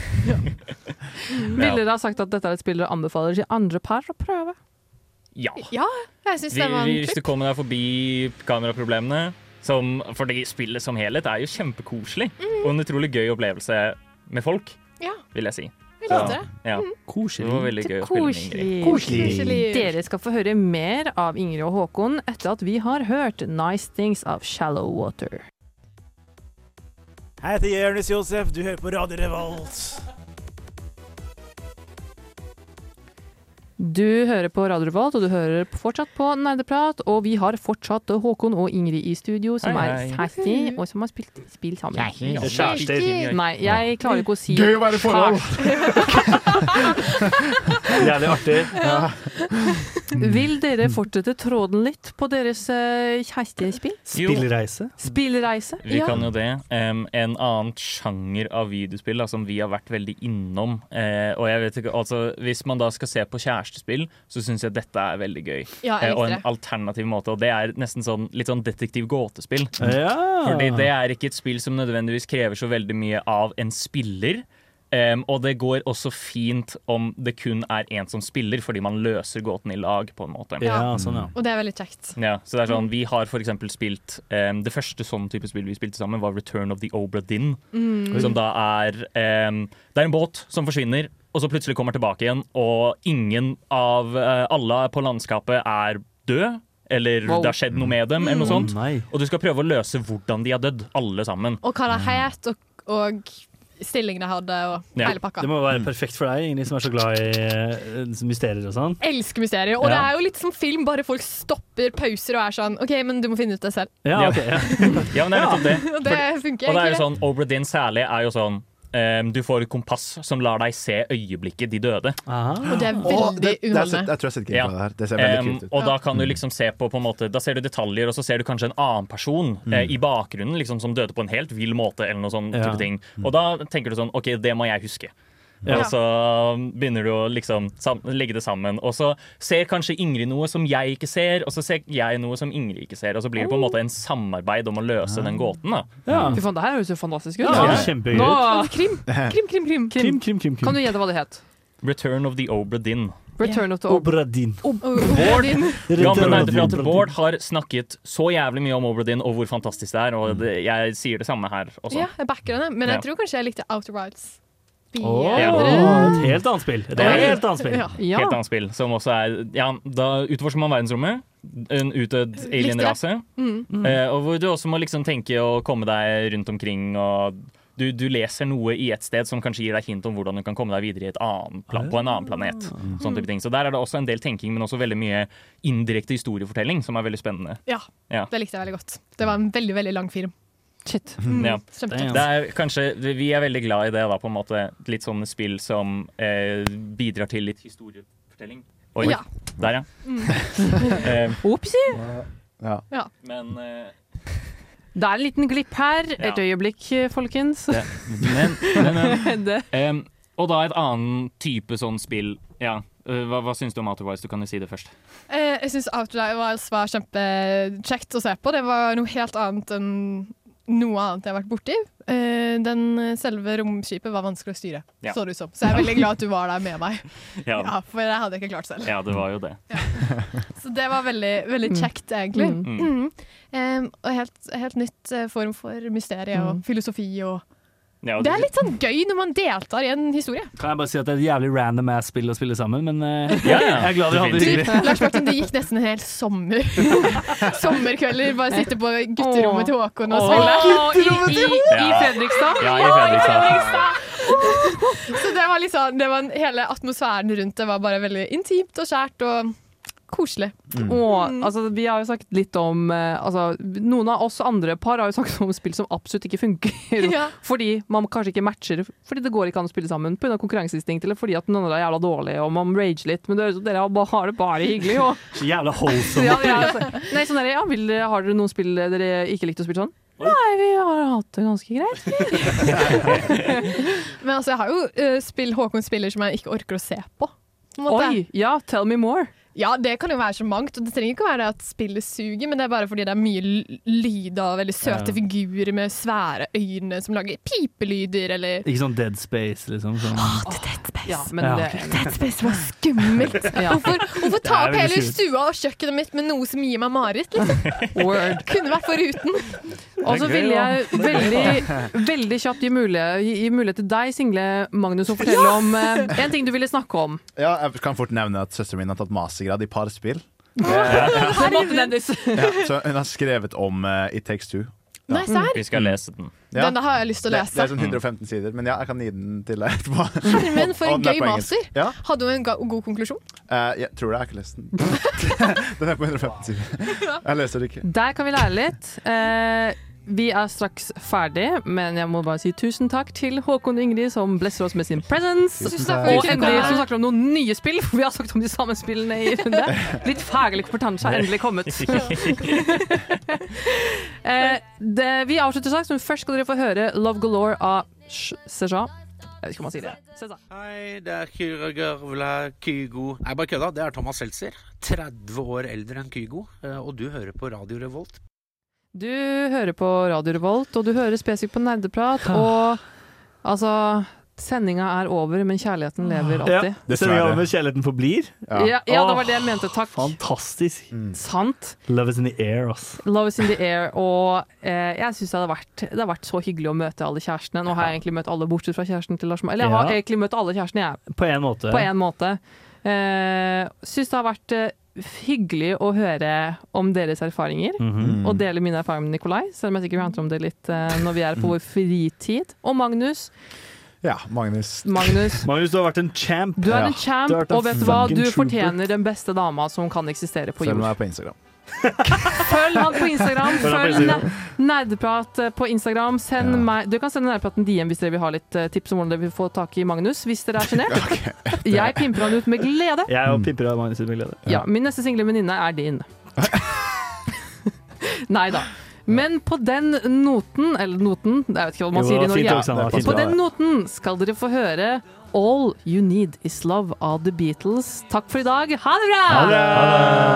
S2: Ville dere ha sagt at dette er et spill dere anbefaler til andre par å prøve?
S1: Ja.
S8: Ja, jeg syns
S1: Vi,
S8: det var
S1: vi,
S8: en
S1: hvis du
S8: tripp.
S1: kommer deg forbi kameraproblemene som, Fordi spillet som helhet er jo kjempekoselig. Og en utrolig gøy opplevelse med folk,
S8: Mhm. Ja.
S1: vil jeg si.
S8: Vi
S1: Så,
S8: likte det. Mhm.
S1: ja.
S4: Koselig.
S1: Det var veldig gøy å spille med Ingrid.
S2: Dere skal få høre mer av Ingrid og Håkon etter at vi har hørt 'Nice Things of Shallow Water'.
S17: Jeg heter Jonis Josef, du hører på Radio Revolt.
S2: Du hører på Radio Revolt, og du hører fortsatt på Nerdeprat. Og vi har fortsatt Håkon og Ingrid i studio, som
S11: Hei,
S2: er
S11: hei.
S2: 60, og som har spilt spill sammen.
S11: Ja, ja. Kjærester.
S2: Nei, jeg klarer ikke å si
S11: Gøy å være i forhold.
S4: Jævlig artig.
S2: Vil dere fortsette tråden litt på deres eh, kjærestespill?
S4: Spillreise?
S2: Spillreise?
S1: Vi kan jo det. Em, en annen sjanger av videospill da, som vi har vært veldig innom. Eh, og jeg vet ikke, altså Hvis man da skal se på kjærestespill, så syns jeg dette er veldig gøy.
S11: Ja, jeg
S1: Eh, og
S11: likte
S1: en alternativ måte. Og det er nesten sånn litt sånn detektiv gåtespill.
S11: Ja.
S1: Fordi det er ikke et spill som nødvendigvis krever så veldig mye av en spiller. Em, og det går også fint om det kun er én som spiller, fordi man løser gåten i lag, på en måte.
S4: Ja, sånn, ja.
S18: Og det er veldig kjekt.
S1: Ja, så det er
S8: Mm.
S1: sånn, Vi har for eksempel spilt em, Det første sånn type spill vi spilte sammen, var Return of the Obra Dinn.
S11: Mm.
S1: Som da er em, Det er en båt som forsvinner, og så plutselig kommer tilbake igjen. Og ingen av eh, alle på landskapet er død, eller
S8: Wow.
S1: det har skjedd noe med dem. eller noe
S8: Mm.
S1: sånt Og du skal prøve å løse hvordan de har dødd, alle sammen.
S8: Og hva det het, og, og stillingen jeg hadde, og
S1: Ja.
S8: hele pakka.
S4: Det må være perfekt for deg, Ingrid, som er så glad i eh, mysterier og sånn.
S8: Elsker mysterier. Og det
S4: Ja.
S8: er jo litt som film, bare folk stopper pauser og er sånn OK, men du må finne ut det selv.
S4: Ja, ok, ja.
S1: ja, men det er nettopp det.
S8: Og det funker
S1: Og det er
S8: egentlig.
S1: jo sånn, Obra Dinn særlig er jo sånn em, Du får et kompass som lar deg se øyeblikket de døde.
S8: Og det er veldig
S3: Åh, det- det er
S8: underholdende.
S3: sett- Jeg tror jeg sitter ikke på det her. Det ser veldig
S1: Em,
S3: kult ut.
S1: Ehm, Og da kan du liksom se på, på en måte, da ser du detaljer, og så ser du kanskje en annen person eh, i bakgrunnen liksom, som døde på en helt vill måte, eller noe sånn
S4: Mm. Ja. Mm.
S1: type ting. Og da tenker du sånn OK, det må jeg huske.
S4: Ja.
S1: Og så begynner du å liksom sam legge det sammen. Og så ser kanskje Ingrid noe som jeg ikke ser, og så ser jeg noe som Ingrid ikke ser. Og så blir det på en måte en samarbeid om å løse den gåten. da
S2: Fy faen, det her høres jo fantastisk ut.
S1: Ja, det er kjempegøy.
S2: Nå- Krim, krim, krim, krim.
S4: Krim, krim, krim, krim.
S2: Kan du gjette hva det het?
S1: Return of the Obra Dinn.
S2: Return of the Ob-
S4: Obra Dinn.
S2: Ob-
S1: Bård,
S2: Obradin.
S1: ja, men nei, det er for at Bård har snakket så jævlig mye om Obra Dinn og hvor fantastisk det er, og det, jeg sier det samme her også.
S8: Ja, jeg backer henne, men
S1: Ja.
S8: jeg tror kanskje jeg likte Outer Wilds. eh,
S1: Ja.
S4: Åh, et helt annet spill. Et helt annet spill.
S8: Ja. Ja.
S1: Helt annet spill, som også er Ja, da utforsker man verdensrommet. En utdødd alien-rase.
S11: Mm.
S1: eh, Og hvor du også må liksom tenke å komme deg rundt omkring og du, du leser noe i et sted som kanskje gir deg hint om hvordan du kan komme deg videre i et annen plan, på en annen planet. Sånn type ting. Så der er det også en del tenking, men også veldig mye indirekte historiefortelling, som er veldig spennende.
S8: Ja,
S1: Ja.
S8: det likte jeg veldig godt. Det var en veldig, veldig lang film.
S2: Shit.
S8: Mm.
S1: Ja.
S8: Kjempetøft.
S1: Det er kanskje, vi er veldig glad i det, da, på en måte. Litt sånne spill som eh, bidrar til litt historiefortelling. Oi,
S11: Ja.
S1: der ja.
S2: Mm.
S1: Eh,
S2: Opsi. Ja.
S1: Men, eh,
S2: Det er en liten glipp her.
S1: Ja.
S2: Et øyeblikk, eh, folkens.
S1: det, men, men, men
S2: Det-
S1: Em, Og da et annen type sånn spill. Ja. eh, Hva, hva syns du om Outerwise? Du kan jo si det først.
S8: Eh, jeg syns Outer Wilds var kjempekjekt å se på. Det var noe helt annet enn noe annet jeg har vært borti. Eh, den selve romskipet var vanskelig å styre,
S1: Ja.
S8: så det ut som. Så jeg er veldig glad at du var der med meg.
S1: Ja.
S8: Ja, for det hadde jeg ikke klart selv.
S1: Ja, det var jo det.
S8: Så det var veldig, veldig kjekt, egentlig. Mm.
S1: Mm.
S8: Eh, og helt, helt nytt eh, form for mysterie
S1: Mm.
S8: og filosofi og
S1: Ja, og
S8: Det er
S1: du-
S8: litt sånn gøy når man deltar i en historie.
S4: Kan jeg bare si at det er et jævlig random ass spill å spille sammen, men eh,
S1: Ja, ja.
S4: jeg er glad dere hadde det
S8: Du,
S4: hyggelig.
S8: Lars Martin, det gikk nesten en hel sommer. Sommerkvelder. Bare sitte på gutterommet til Håkon og
S2: Åh,
S8: spille.
S2: gutterommet til Håkon! I- i- i Fredrikstad?
S1: Ja, i Fredrikstad.
S8: Så det var liksom det var en, Hele atmosfæren rundt det var bare veldig intimt og kjært og koselig.
S1: Mm.
S2: Og, altså, vi har jo snakket litt om eh, altså, Noen av oss andre par har jo snakket om spill som absolutt ikke funker.
S8: Ja.
S2: Fordi man kanskje ikke matcher, fordi det går ikke an å spille sammen pga. konkurranseinstinkt, eller fordi at den andre er jævla dårlig og man rager litt. Men det høres ut som dere har bare- har det bare hyggelig. Og,
S4: Så jævla wholesome.
S2: ja, ja, altså. Nei, sånn er det, ja. Vil, dere- har dere noen spill dere ikke likte å spille sånn? Nei, vi har hatt det ganske greit.
S8: Men altså, jeg har jo eh, spill, Håkon spiller som jeg ikke orker å se på. på en måte.
S2: Oi! Ja, tell me more.
S8: Ja, det kan jo være så mangt. Og det trenger ikke å være det at spillet suger, men det er bare fordi det er mye l- lyd av veldig søte
S4: Ja.
S8: figurer med svære øyne som lager pipelyder, eller
S4: Ikke sånn Dead Space, liksom. Sånn.
S2: Ja,
S4: men Ja. det-
S8: Dead Space var skummelt! Hvorfor, hvorfor ta
S4: Det er
S8: opp
S4: veldig
S8: hele
S4: skummelt.
S8: stua og kjøkkenet mitt med noe som gir meg mareritt, liksom?
S2: Word.
S8: Kunne vært foruten.
S2: Og så vil jeg veldig, veldig kjapt gi mulighet, gi mulighet til deg, Single Magnus, å fortelle
S3: Ja!
S2: om eh, en ting du ville snakke om.
S3: Ja, jeg kan fort nevne at søsteren min har tatt mastergrad i parspill.
S2: Som måtte nevnes.
S3: Ja, så hun har skrevet om eh, It Takes Two.
S2: Nei, serr?
S1: Vi skal lese den.
S8: Ja. Denne har jeg lyst til å lese.
S7: Det, det er sånn 115 sider, men ja, jeg kan gi den til deg etterpå.
S8: Herre min, for
S7: Og
S8: en
S7: den er
S8: gøy
S7: på engelsk.
S8: maser.
S7: Ja.
S8: Hadde hun en ga- god konklusjon?
S7: Eh, jeg tror det, jeg har ikke lest den. den er på 115 sider. Jeg leser det ikke.
S2: Der kan vi lære litt. Eh, vi er straks ferdig, men jeg må bare si tusen takk til Håkon og Ingrid som blesser oss med sin presence.
S8: Tusen takk.
S2: Og endelig som snakker om noen nye spill, for vi har snakket om de samme spillene i runde. Litt faglig kompetanse har endelig kommet. eh, det, vi avslutter straks, men først skal dere få høre Love Galore av Sh- Seja. Jeg vet ikke om man sier det.
S19: Hei, det er Kyra Garvla Kygo. Nei, bare kødda. Det er Thomas Seltzer. 30 år eldre enn Kygo. eh, Og du hører på Radio Revolt.
S2: Du hører på Radio Revolt, og du hører spesifikt på Nerdeprat, og altså Sendinga er over, men
S4: Ah.
S2: kjærligheten lever alltid.
S4: Ja. Så vi har med kjærligheten forblir.
S2: Ja. Ja, det var
S4: Åh,
S2: det jeg mente. Takk.
S4: Fantastisk.
S2: Sant.
S4: Love is in the air, ass.
S2: Love is in the air. Og eh, jeg syns det, har vært- det har vært så hyggelig å møte alle kjærestene. Nå har jeg egentlig møtt alle bortsett fra kjæresten til Lars Mo- Eller jeg har
S4: Ja.
S2: egentlig møtt alle kjærestene, jeg.
S4: På en måte.
S2: På en måte. Eh, syns det har vært eh, hyggelig å høre om deres erfaringer.
S13: Mhm.
S2: Og dele mine erfaringer med Nikolai, selv om jeg sikkert prater om det litt eh, når vi er på vår fritid. Og Magnus.
S7: Ja, Magnus.
S2: Magnus.
S4: Magnus, du har vært en champ.
S2: Du er en champ,
S4: Du har vært en
S2: og vet du hva?
S4: fucking
S2: Du
S4: trooper.
S2: fortjener den beste dama som kan eksistere på
S7: Følg
S2: jord.
S7: meg på Instagram.
S2: Følg han på Instagram.
S7: Følg han på
S2: Følg
S7: Instagram.
S2: Ne- Nerdeprat eh, på Instagram. Send meg, du kan sende Nerdepraten DM hvis dere vil ha litt eh, tips om hvordan dere vil få tak i Magnus, hvis dere er sjenert. Jeg pimper han ut med glede.
S4: Jeg er jo pimper av Magnus sin glede.
S2: Ja, min neste single venninne er din. Nei da. Men på den noten, eller noten, jeg vet ikke hva man
S4: Jo,
S2: sier i
S4: fint
S2: Norge.
S4: også, Anna, fint
S2: på
S4: også.
S2: den noten skal dere få høre All You Need Is Love av The Beatles. Takk for i dag. Ha det bra!
S4: Ha det!